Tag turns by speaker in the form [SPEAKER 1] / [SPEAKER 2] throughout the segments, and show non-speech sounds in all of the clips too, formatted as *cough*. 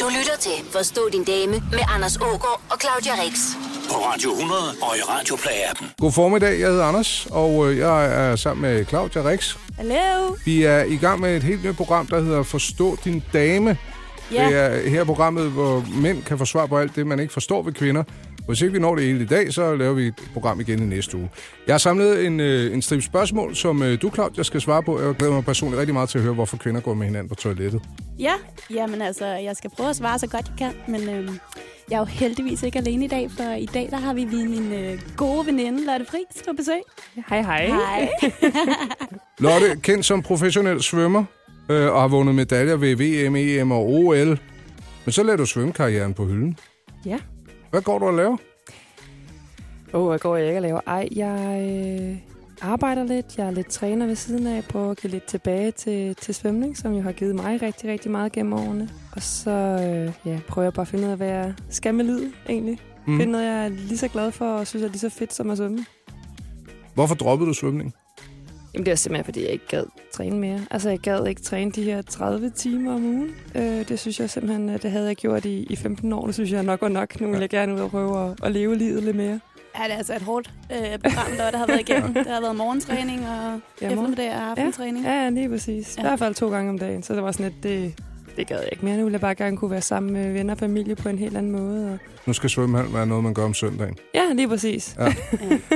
[SPEAKER 1] Du lytter til Forstå din dame med Anders Ågaard og Claudia Rex.
[SPEAKER 2] På Radio 100 og i Radioplay-appen.
[SPEAKER 3] God formiddag, jeg hedder Anders, og øh, jeg er sammen med Claudia Rix.
[SPEAKER 4] Hallo.
[SPEAKER 3] Vi er i gang med et helt nyt program, der hedder Forstå din dame.
[SPEAKER 4] Ja.
[SPEAKER 3] Det er her programmet, hvor mænd kan få svar på alt det, man ikke forstår ved kvinder. Hvis ikke vi når det hele i dag, så laver vi et program igen i næste uge. Jeg har samlet en, øh, en stribe spørgsmål, som øh, du, Claudia, skal svare på. Jeg glæder mig personligt rigtig meget til at høre, hvorfor kvinder går med hinanden på toilettet.
[SPEAKER 4] Ja, jamen altså, jeg skal prøve at svare så godt jeg kan, men øhm, jeg er jo heldigvis ikke alene i dag, for i dag der har vi lige min øh, gode veninde, Lotte Friis, på besøg.
[SPEAKER 5] Hej, hej. *laughs*
[SPEAKER 4] Hej.
[SPEAKER 3] Lotte, kendt som professionel svømmer, øh, og har vundet medaljer ved VM, EM og OL. Men så lader du svømmekarrieren på hylden.
[SPEAKER 5] Ja.
[SPEAKER 3] Hvad går du og laver?
[SPEAKER 5] Åh, oh, hvad går jeg ikke at lave? Ej, jeg øh, arbejder lidt. Jeg er lidt træner ved siden af på at give lidt tilbage til, til svømning, som jo har givet mig rigtig, rigtig meget gennem årene. Og så øh, ja, prøver jeg bare at finde ud af, hvad jeg skal med livet egentlig. Mm. Finde noget, jeg er lige så glad for og synes er lige så fedt som at svømme.
[SPEAKER 3] Hvorfor droppede du svømning?
[SPEAKER 5] Jamen, det var simpelthen, fordi jeg ikke gad træne mere. Altså, jeg gad ikke træne de her 30 timer om ugen. Øh, det synes jeg simpelthen, at det havde jeg gjort i, i 15 år. Det synes jeg nok var nok. Nu vil jeg gerne ud og prøve at, at leve livet lidt mere.
[SPEAKER 4] ja, det er altså et hårdt øh, program, der har været igennem. Der har været morgentræning og
[SPEAKER 5] Ja, morgen-
[SPEAKER 4] eftermiddag og aftentræning. Ja.
[SPEAKER 5] Ja, ja, lige præcis.
[SPEAKER 4] Ja.
[SPEAKER 5] Ja. I hvert fald to gange om dagen. Så det var sådan lidt, det, det gad jeg ikke mere. Nu ville jeg bare gerne kunne være sammen med venner og familie på en helt anden måde. Og...
[SPEAKER 3] Nu skal svømmehallen være noget, man gør om søndagen.
[SPEAKER 5] Ja, lige præcis.
[SPEAKER 4] Ja.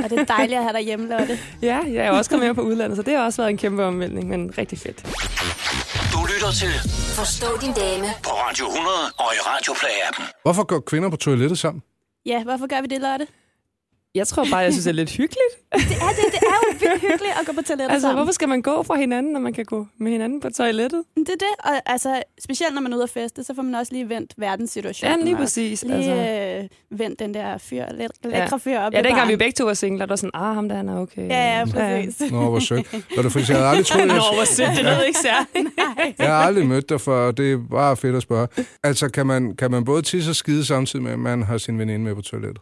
[SPEAKER 4] Og det er dejligt at have dig hjemme, Lotte.
[SPEAKER 5] *laughs* Ja, jeg er også kommet med på udlandet, så det har også været en kæmpe omvæltning, men rigtig fedt.
[SPEAKER 2] Du lytter til
[SPEAKER 1] Forstå din dame
[SPEAKER 2] på Radio 100 og i Radioplay-appen.
[SPEAKER 3] Hvorfor går kvinder på toilettet sammen?
[SPEAKER 4] Ja, hvorfor gør vi det, Lotte?
[SPEAKER 5] Jeg tror bare, jeg synes, det er lidt *laughs* hyggeligt.
[SPEAKER 4] Ja, det, det er jo vildt hyggeligt at gå på toilettet
[SPEAKER 5] Altså,
[SPEAKER 4] sammen.
[SPEAKER 5] hvorfor skal man gå fra hinanden, når man kan gå med hinanden på toilettet?
[SPEAKER 4] Det er det, og altså, specielt når man er ude at feste, så får man også lige vendt verdenssituationen.
[SPEAKER 5] Ja, lige
[SPEAKER 4] og
[SPEAKER 5] præcis. Altså, ja,
[SPEAKER 4] Lige øh, vendt den der fyr, læk- lækre
[SPEAKER 5] Ja.
[SPEAKER 4] fyr op i
[SPEAKER 5] dengang
[SPEAKER 4] baren.
[SPEAKER 5] vi begge to var singler, der var sådan, ah, ham der, han er okay.
[SPEAKER 4] Ja, ja, præcis. *laughs*
[SPEAKER 5] *laughs*
[SPEAKER 3] Nå, hvor sødt. Var det fordi, jeg havde aldrig troet, jeg,
[SPEAKER 5] hvor sødt, det lød ikke særligt.
[SPEAKER 3] jeg har aldrig mødt dig før, og det er bare fedt at spørge. Altså, kan man, kan man både tisse og skide samtidig med, at man har sin veninde med på toilettet?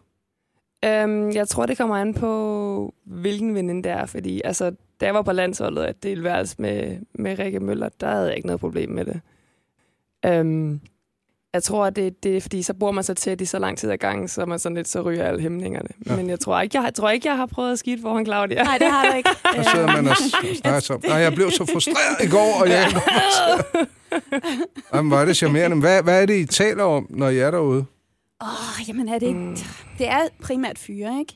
[SPEAKER 5] Øhm, jeg tror, det kommer an på, hvilken veninde det er, fordi altså, da jeg var på landsholdet, at det værelse med, med Rikke Møller, der havde jeg ikke noget problem med det. Øhm, jeg tror, at det, det er, fordi så bor man så tæt i så lang tid ad gangen, så er man sådan lidt, så ryger alle hæmningerne. Ja. Men jeg tror, ikke, jeg, har- jeg tror ikke, jeg har prøvet at skide foran Claudia.
[SPEAKER 4] Nej, det har du ikke.
[SPEAKER 3] Og sidder man og s- snakker sammen. Nej, jeg blev så frustreret i går, og jeg... Jamen, var det charmerende. Men Hvad, hvad er det, I taler om, når I er derude?
[SPEAKER 4] Åh, jamen er det ikke...
[SPEAKER 3] Mm.
[SPEAKER 4] Det er primært fyre, ikke?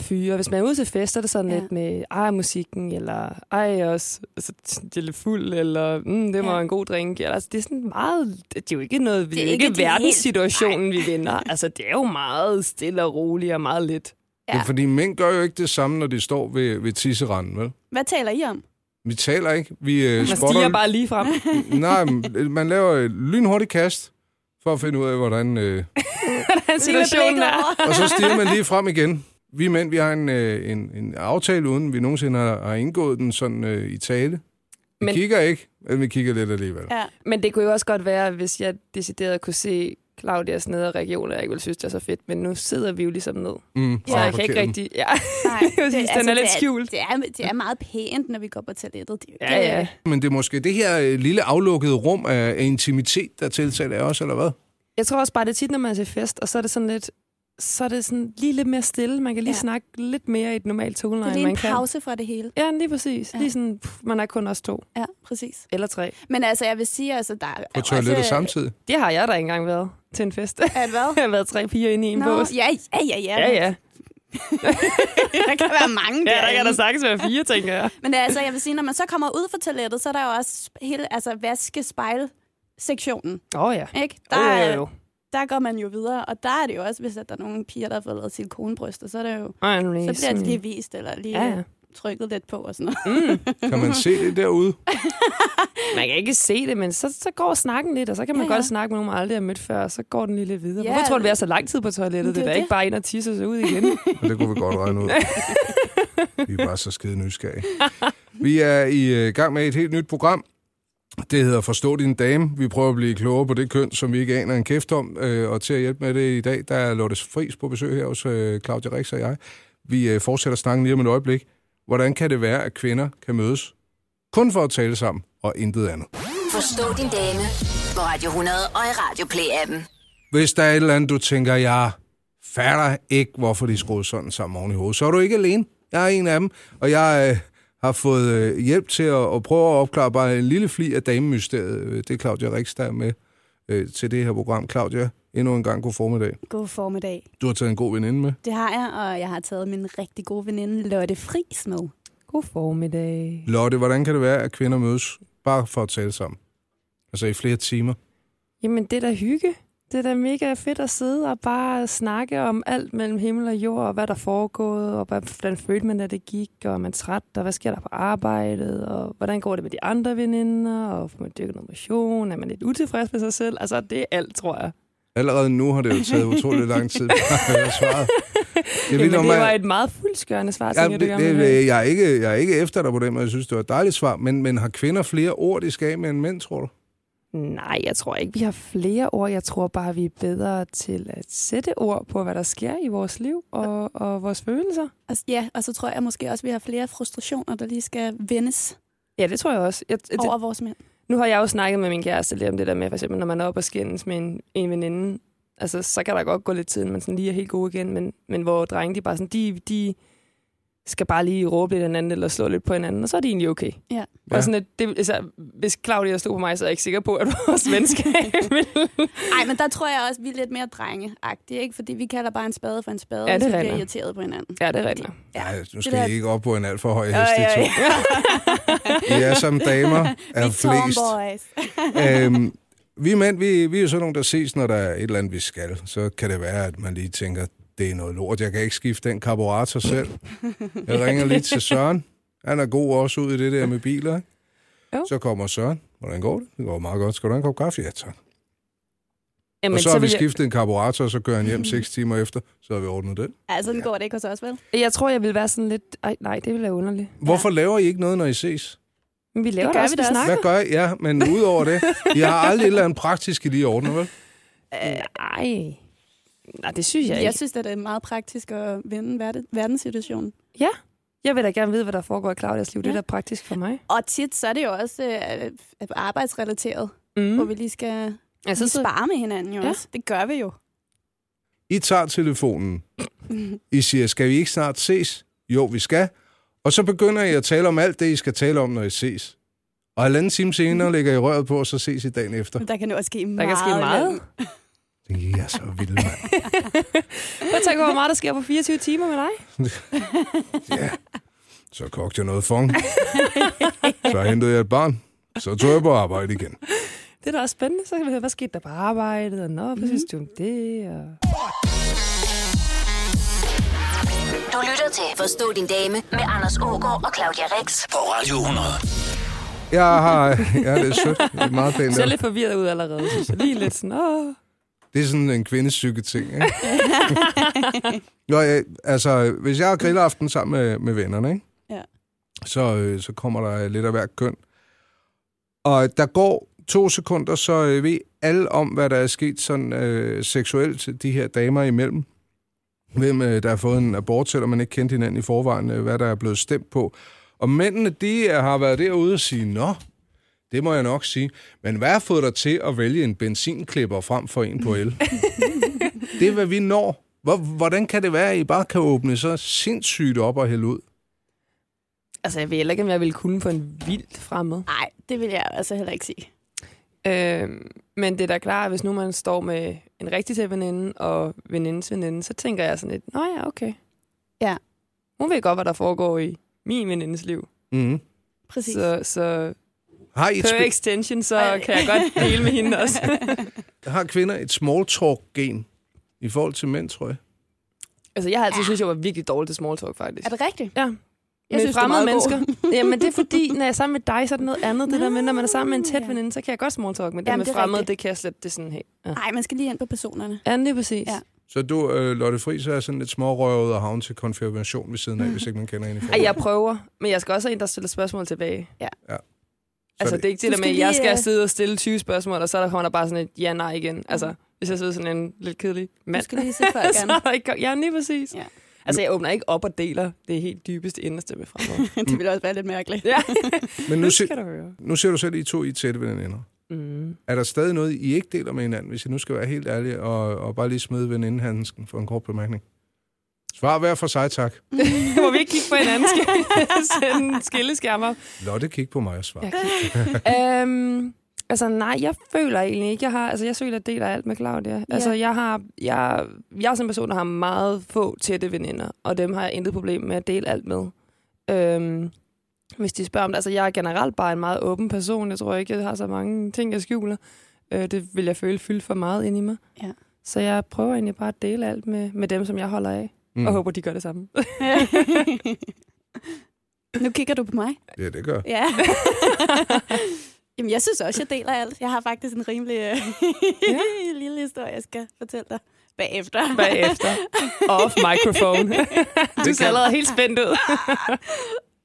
[SPEAKER 5] fyre. Hvis man er ude til fest, så er det sådan
[SPEAKER 4] Ja.
[SPEAKER 5] ja. lidt med, ej, musikken, eller ej, også, altså, det er lidt fuld, eller mm, det var
[SPEAKER 4] Ja.
[SPEAKER 5] ja. en god drink. Eller, altså, det er sådan meget, det er jo ikke noget, det er
[SPEAKER 4] ikke
[SPEAKER 5] ikke,
[SPEAKER 4] det
[SPEAKER 5] ikke verdenssituationen, vi vinder. Altså, det er jo meget stille og roligt og meget lidt.
[SPEAKER 4] Ja.
[SPEAKER 3] Ja. Men fordi mænd gør jo ikke det samme, når de står ved, ved tisseranden, vel?
[SPEAKER 4] Hvad taler I om?
[SPEAKER 3] Vi taler ikke. Vi øh,
[SPEAKER 5] Man
[SPEAKER 3] spotter...
[SPEAKER 5] stiger altså, bare lige *laughs* frem.
[SPEAKER 3] Nej, men øh, man laver et lynhurtigt kast for at finde ud af, hvordan... Øh...
[SPEAKER 5] Den situation er.
[SPEAKER 3] Og så stiger man lige frem igen. Vi mænd, vi har en, øh, en, en aftale, uden vi nogensinde har, har indgået den sådan øh, i tale. Vi men...
[SPEAKER 5] Men-
[SPEAKER 3] kigger ikke, men vi kigger lidt alligevel.
[SPEAKER 4] Ja.
[SPEAKER 5] Men det kunne jo også godt være, hvis jeg decideret kunne se Claudias nedre region, og jeg ikke ville synes, det er så fedt. Men nu sidder vi jo ligesom ned.
[SPEAKER 3] Mm,
[SPEAKER 5] Så
[SPEAKER 3] og
[SPEAKER 5] jeg kan ikke
[SPEAKER 3] parkerer den.
[SPEAKER 5] rigtig... Ja,
[SPEAKER 4] Nej,
[SPEAKER 5] *laughs* det, den er lidt skjult.
[SPEAKER 4] Det er, det er meget pænt, når vi går på toilettet. Det er jo
[SPEAKER 5] Ja,
[SPEAKER 4] ikke-
[SPEAKER 5] ja.
[SPEAKER 3] Men det er måske det her øh, lille aflukkede rum af, af intimitet, der tiltaler jer også, eller hvad?
[SPEAKER 5] Jeg tror også bare, det er tit, når man er til fest, og så er det sådan lidt så er det sådan lige lidt mere stille. Man kan lige
[SPEAKER 4] Ja.
[SPEAKER 5] ja. snakke lidt mere i et normalt
[SPEAKER 4] Det
[SPEAKER 5] toneleje,
[SPEAKER 4] er
[SPEAKER 5] end
[SPEAKER 4] lige
[SPEAKER 5] man
[SPEAKER 4] en
[SPEAKER 5] kan.
[SPEAKER 4] pause fra det hele.
[SPEAKER 5] Ja, lige præcis.
[SPEAKER 4] Ja.
[SPEAKER 5] Ja. Lige sådan, pff, man er kun også to.
[SPEAKER 4] Ja, præcis.
[SPEAKER 5] Eller tre.
[SPEAKER 4] Men altså, jeg vil sige, altså, der er
[SPEAKER 3] På toilettet
[SPEAKER 4] også,
[SPEAKER 5] øh,
[SPEAKER 3] samtidig.
[SPEAKER 5] Det har jeg da ikke engang været til en fest. *laughs* jeg
[SPEAKER 4] At hvad?
[SPEAKER 5] har været tre piger inde i en
[SPEAKER 4] Nå,
[SPEAKER 5] bås.
[SPEAKER 4] ja, ja, ja, ja.
[SPEAKER 5] Ja, ja.
[SPEAKER 4] Der kan være mange
[SPEAKER 5] Ja, der kan
[SPEAKER 4] derinde.
[SPEAKER 5] der sagtens være fire, tænker
[SPEAKER 4] *laughs*
[SPEAKER 5] jeg.
[SPEAKER 4] Men altså, jeg vil sige, når man så kommer ud fra toilettet, så er der jo også hele altså, vaskespejl-sektionen.
[SPEAKER 5] Åh oh, ja.
[SPEAKER 4] Ikke? Der,
[SPEAKER 5] Der er
[SPEAKER 4] er-
[SPEAKER 5] jo.
[SPEAKER 4] der går man jo videre, og der er det jo også, hvis at der er nogle piger, der har fået lavet silikonebryster, så, er det jo,
[SPEAKER 5] Ej, nu
[SPEAKER 4] så bliver
[SPEAKER 5] sådan-
[SPEAKER 4] det lige vist, eller lige
[SPEAKER 5] Ja, ja.
[SPEAKER 4] ja. trykket lidt på og sådan
[SPEAKER 5] *laughs*
[SPEAKER 4] noget.
[SPEAKER 3] Kan man se det derude?
[SPEAKER 5] Man kan ikke se det, men så, så går snakken lidt, og så kan man
[SPEAKER 4] Ja,
[SPEAKER 5] ja,
[SPEAKER 4] ja.
[SPEAKER 5] ja. godt snakke med nogen, man aldrig har mødt før, og så går den lige lidt videre.
[SPEAKER 4] Ja,
[SPEAKER 5] Hvorfor tror du,
[SPEAKER 4] det-
[SPEAKER 5] vi er så lang tid på toilettet?
[SPEAKER 4] Det
[SPEAKER 5] Det
[SPEAKER 4] er
[SPEAKER 5] er da
[SPEAKER 4] det.
[SPEAKER 5] ikke bare ind og tisse sig ud
[SPEAKER 4] *laughs*
[SPEAKER 5] igen.
[SPEAKER 3] Og det kunne vi godt regne ud. Vi er bare så skide nysgerrige. Vi er i øh, gang med et helt nyt program. Det hedder Forstå din dame. Vi prøver at blive klogere på det køn, som vi ikke aner en kæft om. Øh, Og til at hjælpe med det i dag, der er Lotte Friis på besøg her hos øh, Claudia Rix og jeg. Vi øh, fortsætter snakken lige om et øjeblik. Hvordan kan det være, at kvinder kan mødes kun for at tale sammen og intet andet?
[SPEAKER 1] Forstå din dame på Radio 100 og i Radio Play-appen.
[SPEAKER 3] Hvis der er et eller andet, du tænker, jeg fatter ikke, hvorfor de skruede sådan sammen oven i hovedet, så er du ikke alene. Jeg er en af dem, og jeg øh, har fået øh, hjælp til at, at prøve at opklare bare en lille fli af damemysteriet. Øh, Det er Claudia Rix, der er med øh, til det her program. Claudia, endnu en gang god formiddag.
[SPEAKER 4] God formiddag.
[SPEAKER 3] Du har taget en god veninde med.
[SPEAKER 4] Det har jeg, og jeg har taget min rigtig gode veninde Lotte Friis med.
[SPEAKER 5] God formiddag.
[SPEAKER 3] Lotte, hvordan kan det være, at kvinder mødes bare for at tale sammen? Altså i flere timer.
[SPEAKER 5] Jamen, det er da hygge. Det er da mega fedt at sidde og bare snakke om alt mellem himmel og jord, og hvad der foregået, og hvad- hvordan følte man, da det gik, og er man træt, og hvad sker der på arbejdet, og hvordan går det med de andre veninder, og får man dyrket noget motion, er man lidt utilfreds med sig selv? Altså, det er alt, tror jeg.
[SPEAKER 3] Allerede nu har det jo taget utrolig lang tid, bare at høre svaret. Jeg
[SPEAKER 5] Jamen, det var et meget fuldskørende svar,
[SPEAKER 3] Ja,
[SPEAKER 5] tænker
[SPEAKER 3] det,
[SPEAKER 5] jeg, du gerne
[SPEAKER 3] det,
[SPEAKER 5] vil have.
[SPEAKER 3] det, jeg, er ikke, jeg er ikke efter dig på den, men jeg synes, det var et dejligt svar. Men, men har kvinder flere ord, de skal af med end mænd, tror du?
[SPEAKER 5] Nej, jeg tror ikke, vi har flere ord. Jeg tror bare, vi er bedre til at sætte ord på, hvad der sker i vores liv og, og vores følelser.
[SPEAKER 4] Og, s- ja, og så tror jeg måske også, at vi har flere frustrationer, der lige skal vendes
[SPEAKER 5] Ja, det tror jeg også. Jeg, det,
[SPEAKER 4] over vores mænd.
[SPEAKER 5] Nu har jeg jo snakket med min kæreste lidt om det der med, for eksempel, når man er oppe og skændes med en, en veninde, altså, så kan der godt gå lidt tid, inden man sådan lige er helt god igen, men, men hvor drenge, de bare sådan, de, de skal bare lige råbe lidt af hinanden, eller slå lidt på hinanden, og så er de egentlig okay.
[SPEAKER 4] Ja.
[SPEAKER 5] Ja.
[SPEAKER 3] Ja.
[SPEAKER 5] Og sådan, at det, altså, hvis Claudia stod på mig, så er jeg ikke sikker på, at
[SPEAKER 4] *laughs*
[SPEAKER 5] vores venskab ville...
[SPEAKER 4] Ej, men der tror jeg også, at vi er lidt mere drengeagtige, ikke? Fordi vi kalder bare en spade for en spade,
[SPEAKER 5] Ja,
[SPEAKER 4] og
[SPEAKER 5] det
[SPEAKER 4] så bliver
[SPEAKER 5] er rigtigt.
[SPEAKER 4] irriteret på hinanden.
[SPEAKER 5] Ja, det er rigtigt.
[SPEAKER 3] Ja, nu
[SPEAKER 4] der-
[SPEAKER 3] skal I ikke op på en alt for høj hest,
[SPEAKER 5] Ej,
[SPEAKER 3] de
[SPEAKER 5] ej.
[SPEAKER 3] to. I er som damer, er
[SPEAKER 4] Vi
[SPEAKER 3] flest.
[SPEAKER 4] tomboys.
[SPEAKER 3] Øhm, vi mænd, vi, vi er jo sådan nogle, der ses, når der er et eller andet, vi skal. Så kan det være, at man lige tænker, det er noget lort, jeg kan ikke skifte den karburator selv. Jeg ringer lige til Søren. Han er god også ud i det der med biler. ikke?
[SPEAKER 5] Jo.
[SPEAKER 3] Så kommer Søren. Hvordan går det? Det går meget godt. Skal du have en kop kaffe? Ja, tak.
[SPEAKER 5] Jamen,
[SPEAKER 3] og så har vi
[SPEAKER 5] vil jeg- Mm.
[SPEAKER 3] skiftet en karburator, og så kører han hjem 6 timer efter, så har vi ordnet det.
[SPEAKER 4] Ja, sådan går det ikke hos os, vel?
[SPEAKER 5] Jeg tror, jeg vil være sådan lidt... Ej, nej, det ville være underligt.
[SPEAKER 3] Hvorfor laver I ikke noget, når I ses?
[SPEAKER 5] Men vi laver det,
[SPEAKER 4] gør
[SPEAKER 5] også,
[SPEAKER 4] vi da også.
[SPEAKER 5] snakker.
[SPEAKER 3] Hvad gør I? Ja, men udover det, I har aldrig et eller andet praktisk, I lige ordner, vel?
[SPEAKER 5] Nej. Øh, Nej, det synes jeg ikke.
[SPEAKER 4] Jeg synes, at det er meget praktisk at vende verden- verdenssituationen.
[SPEAKER 5] Ja. Jeg vil da gerne vide, hvad der foregår i Claudias liv. Det er da praktisk for mig.
[SPEAKER 4] Og tit så er det jo også øh, øh, arbejdsrelateret, mm. hvor vi lige skal
[SPEAKER 5] Ja, så
[SPEAKER 4] lige
[SPEAKER 5] sidder-
[SPEAKER 4] spare med hinanden jo
[SPEAKER 5] Ja.
[SPEAKER 4] ja. også. Det gør vi jo.
[SPEAKER 3] I tager telefonen. I siger, skal vi ikke snart ses? Jo, vi skal. Og så begynder I at tale om alt det, I skal tale om, når I ses. Og halvanden time senere lægger I røret på, og så ses I dagen
[SPEAKER 5] *laughs*
[SPEAKER 3] efter.
[SPEAKER 4] Men der kan jo også ske meget.
[SPEAKER 5] Der kan ske meget.
[SPEAKER 4] imellem.
[SPEAKER 3] Jeg er så vild, mand.
[SPEAKER 5] Prøv at tænke, hvor meget der sker på 24 timer med dig.
[SPEAKER 3] Så kogte jeg noget
[SPEAKER 5] *laughs*
[SPEAKER 3] fong. Så hentede jeg et barn. Så tog jeg på arbejde igen.
[SPEAKER 5] Det er da også spændende. Så kan vi høre, hvad skete der på arbejdet? Og nå, hvad synes du om det? Og...
[SPEAKER 1] Du lytter til Forstå din dame med Anders Ågaard og Claudia Rex.
[SPEAKER 2] På Radio 100.
[SPEAKER 3] Jeg har... Ja, det er sødt. Det er meget pænt.
[SPEAKER 5] Så er jeg lidt forvirret ud allerede, synes jeg. Lige lidt sådan, åh.
[SPEAKER 3] Det er sådan en kvindesyke ting, ikke? Nå, ja, altså, hvis jeg har grillaften sammen med, med vennerne, ikke?
[SPEAKER 4] Ja.
[SPEAKER 3] Så, øh, så kommer der lidt af hver køn. Og der går to sekunder, så øh, ved alle om, hvad der er sket sådan øh, seksuelt de her damer imellem. Hvem øh, der har fået en abort, selvom man ikke kendte hinanden i forvejen, øh, hvad der er blevet stemt på. Og mændene, de øh, har været derude og sige, nå, det må jeg nok sige. Men hvad har fået dig til at vælge en benzinklipper frem for en på el? det er, hvad vi når. Hvor, hvordan kan det være, at I bare kan åbne så sindssygt op og hælde ud?
[SPEAKER 5] Altså, jeg ved heller ikke, om jeg ville kunne for en vildt fremmed.
[SPEAKER 4] Nej, det vil jeg altså heller ikke sige.
[SPEAKER 5] Øh, men det er da klart, at hvis nu man står med en rigtig tæt veninde og venindens veninde, så tænker jeg sådan lidt, nå ja, okay.
[SPEAKER 4] Ja.
[SPEAKER 5] Hun ved godt, hvad der foregår i min venindes liv.
[SPEAKER 3] Mm.
[SPEAKER 4] Præcis. Så.
[SPEAKER 5] Så, så
[SPEAKER 3] Har, I et
[SPEAKER 5] per
[SPEAKER 3] sp-
[SPEAKER 5] extension, så
[SPEAKER 4] Ej.
[SPEAKER 5] kan jeg godt dele med hende også. *laughs*
[SPEAKER 3] har kvinder et small talk-gen i forhold til mænd, tror jeg?
[SPEAKER 5] altså, jeg har altid synes jeg var virkelig dårlig til small talk, faktisk.
[SPEAKER 4] Er det rigtigt?
[SPEAKER 5] Ja.
[SPEAKER 4] Jeg
[SPEAKER 5] med
[SPEAKER 4] synes, du er
[SPEAKER 5] fremmede
[SPEAKER 4] meget god.
[SPEAKER 5] mennesker.
[SPEAKER 4] *laughs*
[SPEAKER 5] Jamen, det er fordi, når jeg er sammen med dig, så er det noget andet. Det der med, når man er sammen med en tæt
[SPEAKER 4] Ja.
[SPEAKER 5] veninde, så kan jeg godt small talk, men det
[SPEAKER 4] Jamen,
[SPEAKER 5] med
[SPEAKER 4] det er
[SPEAKER 5] fremmede,
[SPEAKER 4] rigtigt.
[SPEAKER 5] det kan jeg slet, det er sådan helt... Ja,
[SPEAKER 4] Nej, man skal lige ind på personerne.
[SPEAKER 5] ja det er præcis.
[SPEAKER 4] Ja.
[SPEAKER 3] Så du, øh, Lotte Friis, er sådan lidt smårøvet og havn til konfirmation ved siden af, hvis ikke man kender hende i
[SPEAKER 5] Ej,
[SPEAKER 3] forvejen.
[SPEAKER 5] jeg prøver, men jeg skal også have en, der stiller spørgsmål tilbage.
[SPEAKER 3] Så
[SPEAKER 5] Altså, det er ikke det
[SPEAKER 4] Du
[SPEAKER 5] der med,
[SPEAKER 4] skal
[SPEAKER 5] at jeg
[SPEAKER 4] lige,
[SPEAKER 5] skal
[SPEAKER 4] øh,
[SPEAKER 5] sidde og stille 20 spørgsmål, og så der kommer der bare sådan et ja-nej igen. Altså, hvis jeg sidder sådan en lidt kedelig
[SPEAKER 4] Du
[SPEAKER 5] mand,
[SPEAKER 4] skal lige se folk
[SPEAKER 5] *laughs* så
[SPEAKER 4] an. *laughs*
[SPEAKER 5] er der ikke... Ja, lige præcis.
[SPEAKER 4] Ja.
[SPEAKER 5] Altså, jeg åbner ikke op og deler det helt dybeste inderste med fremmede.
[SPEAKER 4] det ville også være lidt mærkeligt.
[SPEAKER 5] ja,
[SPEAKER 3] Men nu,
[SPEAKER 5] det
[SPEAKER 3] se,
[SPEAKER 5] skal du høre.
[SPEAKER 3] nu ser du selv, I to I er tætte veninder.
[SPEAKER 5] Mm.
[SPEAKER 3] Er der stadig noget, I ikke deler med hinanden, hvis jeg nu skal være helt ærlig, og, og bare lige smide venindehandsken for en kort bemærkning? Svar hver for sig, tak.
[SPEAKER 5] Må vi ikke kigge på hinanden? Skal *laughs* vi sende skilleskærmer?
[SPEAKER 3] Lotte, kig på mig og svar.
[SPEAKER 5] Ja. øhm, altså nej, jeg føler egentlig ikke. Jeg har, altså jeg føler, at jeg deler alt med Claudia. Yeah. Altså jeg har, jeg, jeg er sådan en person, der har meget få tætte veninder, og dem har jeg intet problem med at dele alt med. Øhm, hvis de spørger om det. Altså jeg er generelt bare en meget åben person. Jeg tror ikke, jeg har så mange ting, jeg skjuler. Øh, det vil jeg føle fyldt for meget ind i mig.
[SPEAKER 4] Ja.
[SPEAKER 5] Så jeg prøver egentlig bare at dele alt med, med dem, som jeg holder af. Mm. Og håber, de gør det samme.
[SPEAKER 4] *laughs* nu kigger du på mig.
[SPEAKER 3] Ja, det gør.
[SPEAKER 4] Ja. *laughs* Jamen, jeg synes også, jeg deler alt. Jeg har faktisk en rimelig
[SPEAKER 5] Ja.
[SPEAKER 4] ja. *laughs* lille historie, jeg skal fortælle dig bagefter.
[SPEAKER 5] Bagefter. *laughs* Off microphone. du ser allerede helt spændt ud.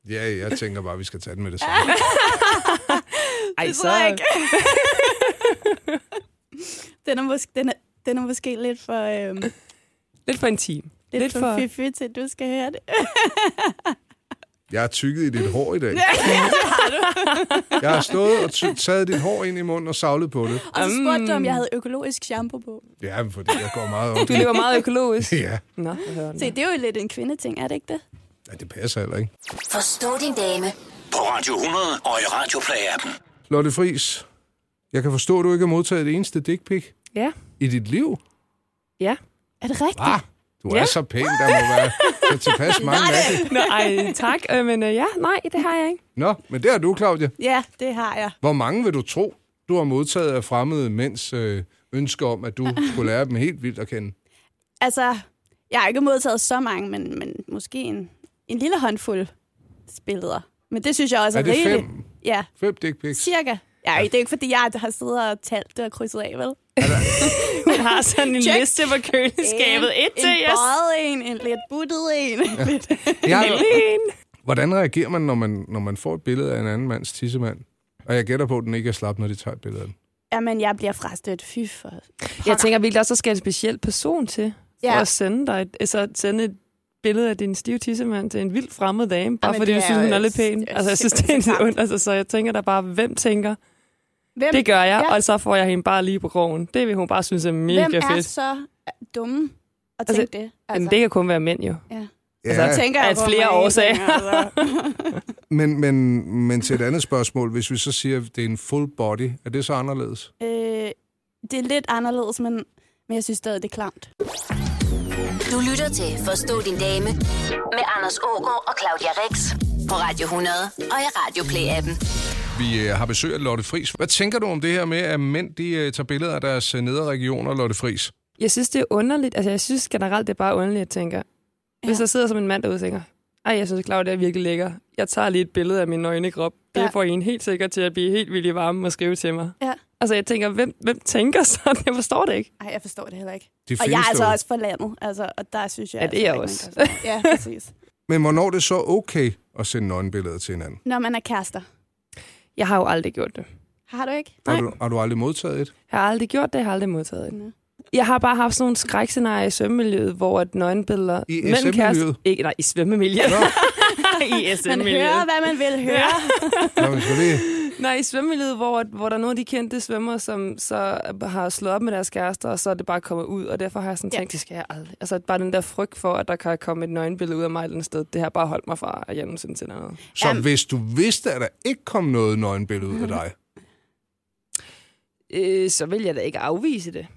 [SPEAKER 3] Ja, jeg tænker bare, vi skal tage den med det samme.
[SPEAKER 5] Ej,
[SPEAKER 4] Det tror jeg ikke. *laughs* den, er måske, den, er, den er måske lidt for, øhm, lidt,
[SPEAKER 5] Lidt for en time.
[SPEAKER 4] lidt for,
[SPEAKER 5] for-
[SPEAKER 4] for fiffig til, at du skal høre det.
[SPEAKER 3] Jeg har tykket i dit hår i dag. Jeg har stået og ty- taget dit hår ind i munden og savlet på det.
[SPEAKER 4] Og så spurgte du, om jeg havde økologisk shampoo på.
[SPEAKER 3] Ja, men fordi jeg går meget op
[SPEAKER 5] Du
[SPEAKER 3] i det.
[SPEAKER 5] lever meget *laughs*
[SPEAKER 3] *laughs*
[SPEAKER 5] økologisk.
[SPEAKER 3] Ja,
[SPEAKER 5] Nå, hvad hører den
[SPEAKER 4] Se, det er jo lidt en kvindeting, er det ikke det?
[SPEAKER 3] Ja, det passer heller ikke.
[SPEAKER 1] Forstå din dame
[SPEAKER 2] På Radio 100 og i Radioplay-appen.
[SPEAKER 3] Lotte Friis, jeg kan forstå, at du ikke har modtaget det eneste dick pic
[SPEAKER 5] Ja.
[SPEAKER 3] i dit liv.
[SPEAKER 5] Ja.
[SPEAKER 4] Er det rigtigt?
[SPEAKER 3] Ah, du er
[SPEAKER 5] Ja.
[SPEAKER 3] så pæn, der må være så
[SPEAKER 5] *laughs*
[SPEAKER 3] tilpas
[SPEAKER 4] Ah,
[SPEAKER 3] mange af det.
[SPEAKER 5] Nå, ej, tak. Øh, men øh, ja, nej, det har jeg ikke.
[SPEAKER 3] Nå, men det er du, Claudia.
[SPEAKER 4] Ja, det har jeg.
[SPEAKER 3] Hvor mange vil du tro, du har modtaget af fremmede mænds øh, ønsker om, at du skulle lære dem helt vildt at kende?
[SPEAKER 4] Altså, jeg har ikke modtaget så mange, men, men måske en, en lille håndfuld billeder. Men det synes jeg også
[SPEAKER 3] er
[SPEAKER 4] er,
[SPEAKER 3] det
[SPEAKER 4] Altså, rigeligt.
[SPEAKER 3] fem,
[SPEAKER 4] Ja,
[SPEAKER 3] fem dick pics?
[SPEAKER 4] cirka. Ja, det er ikke, fordi jeg har siddet og talt det og krydset af, vel?
[SPEAKER 5] Hun har sådan en
[SPEAKER 4] Check.
[SPEAKER 5] liste på køleskabet. Et
[SPEAKER 4] en,
[SPEAKER 5] til
[SPEAKER 4] en
[SPEAKER 5] yes.
[SPEAKER 4] bøjet en, en lidt buttet en. *laughs* Lidt.
[SPEAKER 3] Jeg,
[SPEAKER 5] En.
[SPEAKER 3] hvordan reagerer man når, man, når man får et billede af en anden mands tissemand? Og jeg gætter på, at den ikke er slap, når de tager billedet.
[SPEAKER 4] Jamen, jeg bliver frastødt. Fy for...
[SPEAKER 5] Jeg tænker virkelig også, at der skal en speciel person til ja. for
[SPEAKER 4] Ja.
[SPEAKER 5] at sende dig et, altså, at sende et billede af din stive tissemand til en vildt fremmed dame, bare
[SPEAKER 4] Jamen,
[SPEAKER 5] fordi
[SPEAKER 4] det
[SPEAKER 5] du
[SPEAKER 4] er
[SPEAKER 5] synes, hun
[SPEAKER 4] jo
[SPEAKER 5] er lidt
[SPEAKER 4] s-
[SPEAKER 5] pæn.
[SPEAKER 4] det er
[SPEAKER 5] Altså, jeg synes, det er
[SPEAKER 4] simpelthen
[SPEAKER 5] lidt
[SPEAKER 4] så
[SPEAKER 5] ondt. Altså, så jeg tænker der bare, hvem tænker,
[SPEAKER 4] Hvem,
[SPEAKER 5] det gør jeg,
[SPEAKER 4] Ja.
[SPEAKER 5] og så får jeg hende bare lige på krogen. Det vil hun bare synes er mega
[SPEAKER 4] hvem er
[SPEAKER 5] fedt.
[SPEAKER 4] så øh, dumme at
[SPEAKER 5] Altså,
[SPEAKER 4] tænke det?
[SPEAKER 5] Men det kan kun være mænd jo.
[SPEAKER 3] Ja,
[SPEAKER 4] tænker
[SPEAKER 5] Af
[SPEAKER 4] Altså, jeg på
[SPEAKER 5] flere
[SPEAKER 4] mange
[SPEAKER 5] årsager.
[SPEAKER 4] ting, altså. *laughs*
[SPEAKER 3] men, men, men til et andet spørgsmål. Hvis vi så siger, at det er en full body, er det så anderledes?
[SPEAKER 4] øh, det er lidt anderledes, men, men jeg synes stadig, det er klamt.
[SPEAKER 1] Du lytter til Forstå din dame med Anders Ågaard og Claudia Rex på Radio 100 og i Radio Play-appen.
[SPEAKER 3] Vi øh, har besøg af Lotte Friis. Hvad tænker du om det her med, at mænd de, øh, tager billeder af deres øh, nedre regioner, Lotte Friis?
[SPEAKER 5] Jeg synes, det er underligt. Altså, jeg synes generelt, det er bare underligt, jeg tænker. Hvis
[SPEAKER 4] Ja.
[SPEAKER 5] der sidder som en mand derude og tænker, ej, jeg synes, Claudia er virkelig lækker. Jeg tager lige et billede af min nøgne krop. Det
[SPEAKER 4] Ja.
[SPEAKER 5] får en helt sikkert til at blive helt vildt varme og skrive til mig.
[SPEAKER 4] Ja.
[SPEAKER 5] Altså, jeg tænker, hvem, hvem tænker *laughs* sådan? Jeg forstår det ikke.
[SPEAKER 4] Ej, jeg forstår det heller ikke.
[SPEAKER 3] Det
[SPEAKER 4] Og jeg er altså
[SPEAKER 3] derude.
[SPEAKER 4] også fra landet, altså, og der synes jeg...
[SPEAKER 5] Ja, det er jeg
[SPEAKER 4] altså, ikke, man kan- Ja, præcis.
[SPEAKER 3] Men hvornår er det så okay at sende nøgenbilleder til hinanden?
[SPEAKER 4] Når man er kærester.
[SPEAKER 5] Jeg har jo aldrig gjort det.
[SPEAKER 4] Har du ikke?
[SPEAKER 3] Har du, har du aldrig modtaget
[SPEAKER 4] *laughs*
[SPEAKER 3] et?
[SPEAKER 5] Jeg har aldrig gjort det, jeg har aldrig modtaget det.
[SPEAKER 4] Nå.
[SPEAKER 5] Jeg har bare haft sådan nogle skrækscenarier i svømmemiljøet, hvor at nøgenbilleder...
[SPEAKER 3] I
[SPEAKER 5] mellem kærester-
[SPEAKER 3] SM-miljøet?
[SPEAKER 5] Ikke, nej, i svømmemiljøet.
[SPEAKER 3] Nå,
[SPEAKER 5] *laughs* I
[SPEAKER 4] Man hører,
[SPEAKER 5] SM-miljøet.
[SPEAKER 4] hvad man vil høre.
[SPEAKER 3] nå, men skal lige...
[SPEAKER 5] Nej, i svømmelivet, hvor, hvor der er nogle af de kendte svømmer, som så har slået op med deres kærester, og så er det bare kommet ud, og derfor har jeg sådan
[SPEAKER 4] Ja.
[SPEAKER 5] tænkt, det skal jeg aldrig. Altså bare den der frygt for, at der kan komme et nøgenbillede ud af mig et eller andet sted, det har bare holdt mig fra, at jeg nogensinde sender noget.
[SPEAKER 3] Så
[SPEAKER 4] Jamen.
[SPEAKER 3] hvis du vidste, at der ikke kom noget nøgenbillede ud af dig,
[SPEAKER 5] Øh, så vil jeg da ikke afvise det.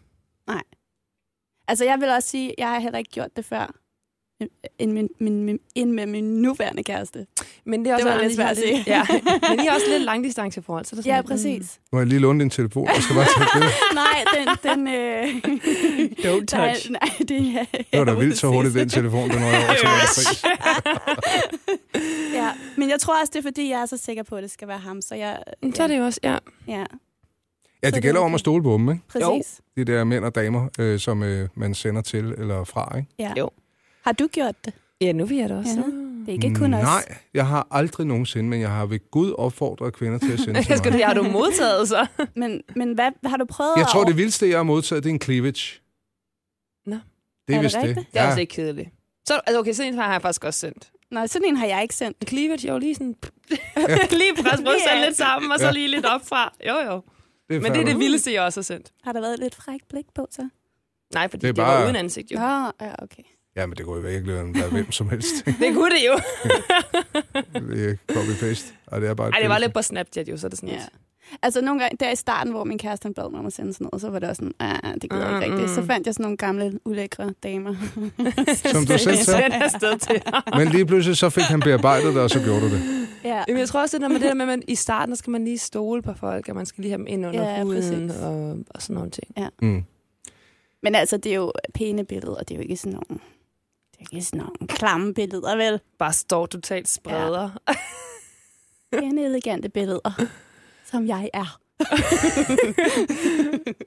[SPEAKER 4] Altså, jeg vil også sige, jeg har heller ikke gjort det før. End, min, min, min, end med min nuværende kæreste.
[SPEAKER 5] Men det er også
[SPEAKER 4] Det var
[SPEAKER 5] en
[SPEAKER 4] lidt svært at
[SPEAKER 5] lidt-
[SPEAKER 4] se.
[SPEAKER 5] *laughs* Ja, men I er også lidt langdistanceforhold, så er det sådan
[SPEAKER 4] Ja,
[SPEAKER 5] lidt, mm. *laughs*
[SPEAKER 4] præcis.
[SPEAKER 3] må jeg lige låne din telefon, jeg skal bare
[SPEAKER 4] *laughs*
[SPEAKER 3] tage et billede.
[SPEAKER 4] Nej, den... den øh...
[SPEAKER 3] *laughs*
[SPEAKER 5] Don't touch.
[SPEAKER 4] Nej, nej, det er...
[SPEAKER 3] Det var da vildt så hurtigt, den telefon, den røg over til Lotte Friis.
[SPEAKER 4] *laughs* Ja, men jeg tror også, det er, fordi jeg er så sikker på, at det skal være ham. Så jeg...
[SPEAKER 5] Mm. Så er det jo også, ja.
[SPEAKER 4] Ja,
[SPEAKER 3] Ja, det gælder om at stole på dem, ikke?
[SPEAKER 4] præcis.
[SPEAKER 3] De der mænd og damer, øh, som øh, man sender til eller fra, ikke?
[SPEAKER 4] Ja.
[SPEAKER 5] Jo.
[SPEAKER 4] Har du gjort det?
[SPEAKER 5] Ja, nu vil jeg da også.
[SPEAKER 4] Ja.
[SPEAKER 5] Ja.
[SPEAKER 4] Det er ikke kun os.
[SPEAKER 3] Nej, jeg har aldrig nogensinde, men jeg har ved Gud opfordret kvinder til at
[SPEAKER 5] *laughs*
[SPEAKER 3] sende
[SPEAKER 5] Jeg
[SPEAKER 3] til
[SPEAKER 5] skal,
[SPEAKER 3] mig.
[SPEAKER 5] det har du modtaget, så.
[SPEAKER 4] Men, men hvad har du prøvet
[SPEAKER 3] Jeg tror,
[SPEAKER 4] at-
[SPEAKER 3] det vildeste, jeg har modtaget, det er en cleavage.
[SPEAKER 5] Nå.
[SPEAKER 3] Det er,
[SPEAKER 4] Er det
[SPEAKER 3] vist det.
[SPEAKER 4] rigtigt?
[SPEAKER 5] Det er også ikke kedeligt. Så, altså, okay, sådan en har jeg faktisk også sendt.
[SPEAKER 4] Nå, sådan en har jeg ikke sendt.
[SPEAKER 5] En
[SPEAKER 3] *laughs*
[SPEAKER 5] cleavage, jo lige sådan... lige presse brysterne lidt sammen, og så
[SPEAKER 3] Ja.
[SPEAKER 5] lige lidt op fra. Jo, jo.
[SPEAKER 3] Det er
[SPEAKER 5] Men det er
[SPEAKER 3] fair
[SPEAKER 5] det
[SPEAKER 3] nok.
[SPEAKER 5] vildeste, jeg også har sendt.
[SPEAKER 4] Har der været et lidt frækt blik på, så?
[SPEAKER 5] Nej, fordi
[SPEAKER 3] Det er
[SPEAKER 5] det, bare... det
[SPEAKER 3] bare-
[SPEAKER 5] var uden ansigt, jo.
[SPEAKER 4] Nå, ja, okay.
[SPEAKER 3] Ja, men det kunne i virkeligheden være hvem som helst.
[SPEAKER 5] *laughs*
[SPEAKER 3] *laughs*
[SPEAKER 5] Det kunne det jo.
[SPEAKER 3] det er copy-paste, og det er bare... et
[SPEAKER 5] Ej, det var
[SPEAKER 3] billede.
[SPEAKER 5] lidt på Snapchat, jo, så er det sådan
[SPEAKER 4] Ja.
[SPEAKER 5] lidt.
[SPEAKER 4] Altså nogle gange, der i starten, hvor min kæreste han bad mig om at sende sådan noget, så var det også sådan, ah, det gider jeg ikke
[SPEAKER 5] Mm,
[SPEAKER 4] rigtigt. Så
[SPEAKER 5] mm.
[SPEAKER 4] fandt jeg sådan nogle gamle, ulækre damer.
[SPEAKER 3] Som du selv
[SPEAKER 5] *laughs* så.
[SPEAKER 3] sagde.
[SPEAKER 5] Det afsted til.
[SPEAKER 3] Men lige pludselig så fik han bearbejdet det, og så gjorde du det.
[SPEAKER 4] ja.
[SPEAKER 5] Jamen, jeg tror også, det er med det der med, at man, i starten der skal man lige stole på folk, og man skal lige have dem ind under
[SPEAKER 4] Ja,
[SPEAKER 5] huden
[SPEAKER 4] præcis.
[SPEAKER 5] og, og sådan nogle ting.
[SPEAKER 3] Mm.
[SPEAKER 4] *laughs* Men altså, det er jo pæne billeder, og det er jo ikke sådan nogle, det er jo ikke sådan nogle klamme billeder, vel?
[SPEAKER 5] Bare står totalt spreder.
[SPEAKER 4] Pæne, elegante
[SPEAKER 5] *laughs*
[SPEAKER 4] billeder, som jeg er. *laughs*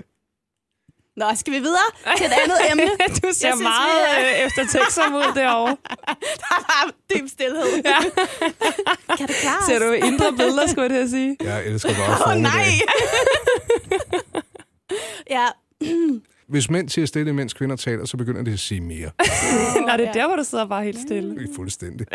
[SPEAKER 4] Nå, skal vi videre til et andet emne?
[SPEAKER 5] *laughs* du ser
[SPEAKER 4] Jeg synes,
[SPEAKER 5] meget
[SPEAKER 4] vi
[SPEAKER 5] øh, eftertænksom ud *laughs* derovre.
[SPEAKER 4] Der var dyb stillhed.
[SPEAKER 5] Ja.
[SPEAKER 4] Kan det klare
[SPEAKER 5] Ser du indre billeder, skulle jeg til at sige.
[SPEAKER 3] Jeg elsker bare
[SPEAKER 4] Åh, oh,
[SPEAKER 3] foredrag.
[SPEAKER 4] nej! ja.
[SPEAKER 3] Hvis mænd siger stille, mens kvinder taler, så begynder de at sige mere.
[SPEAKER 5] Nå, det
[SPEAKER 4] Ja.
[SPEAKER 5] er der, hvor du sidder bare helt stille.
[SPEAKER 3] Det er Fuldstændig.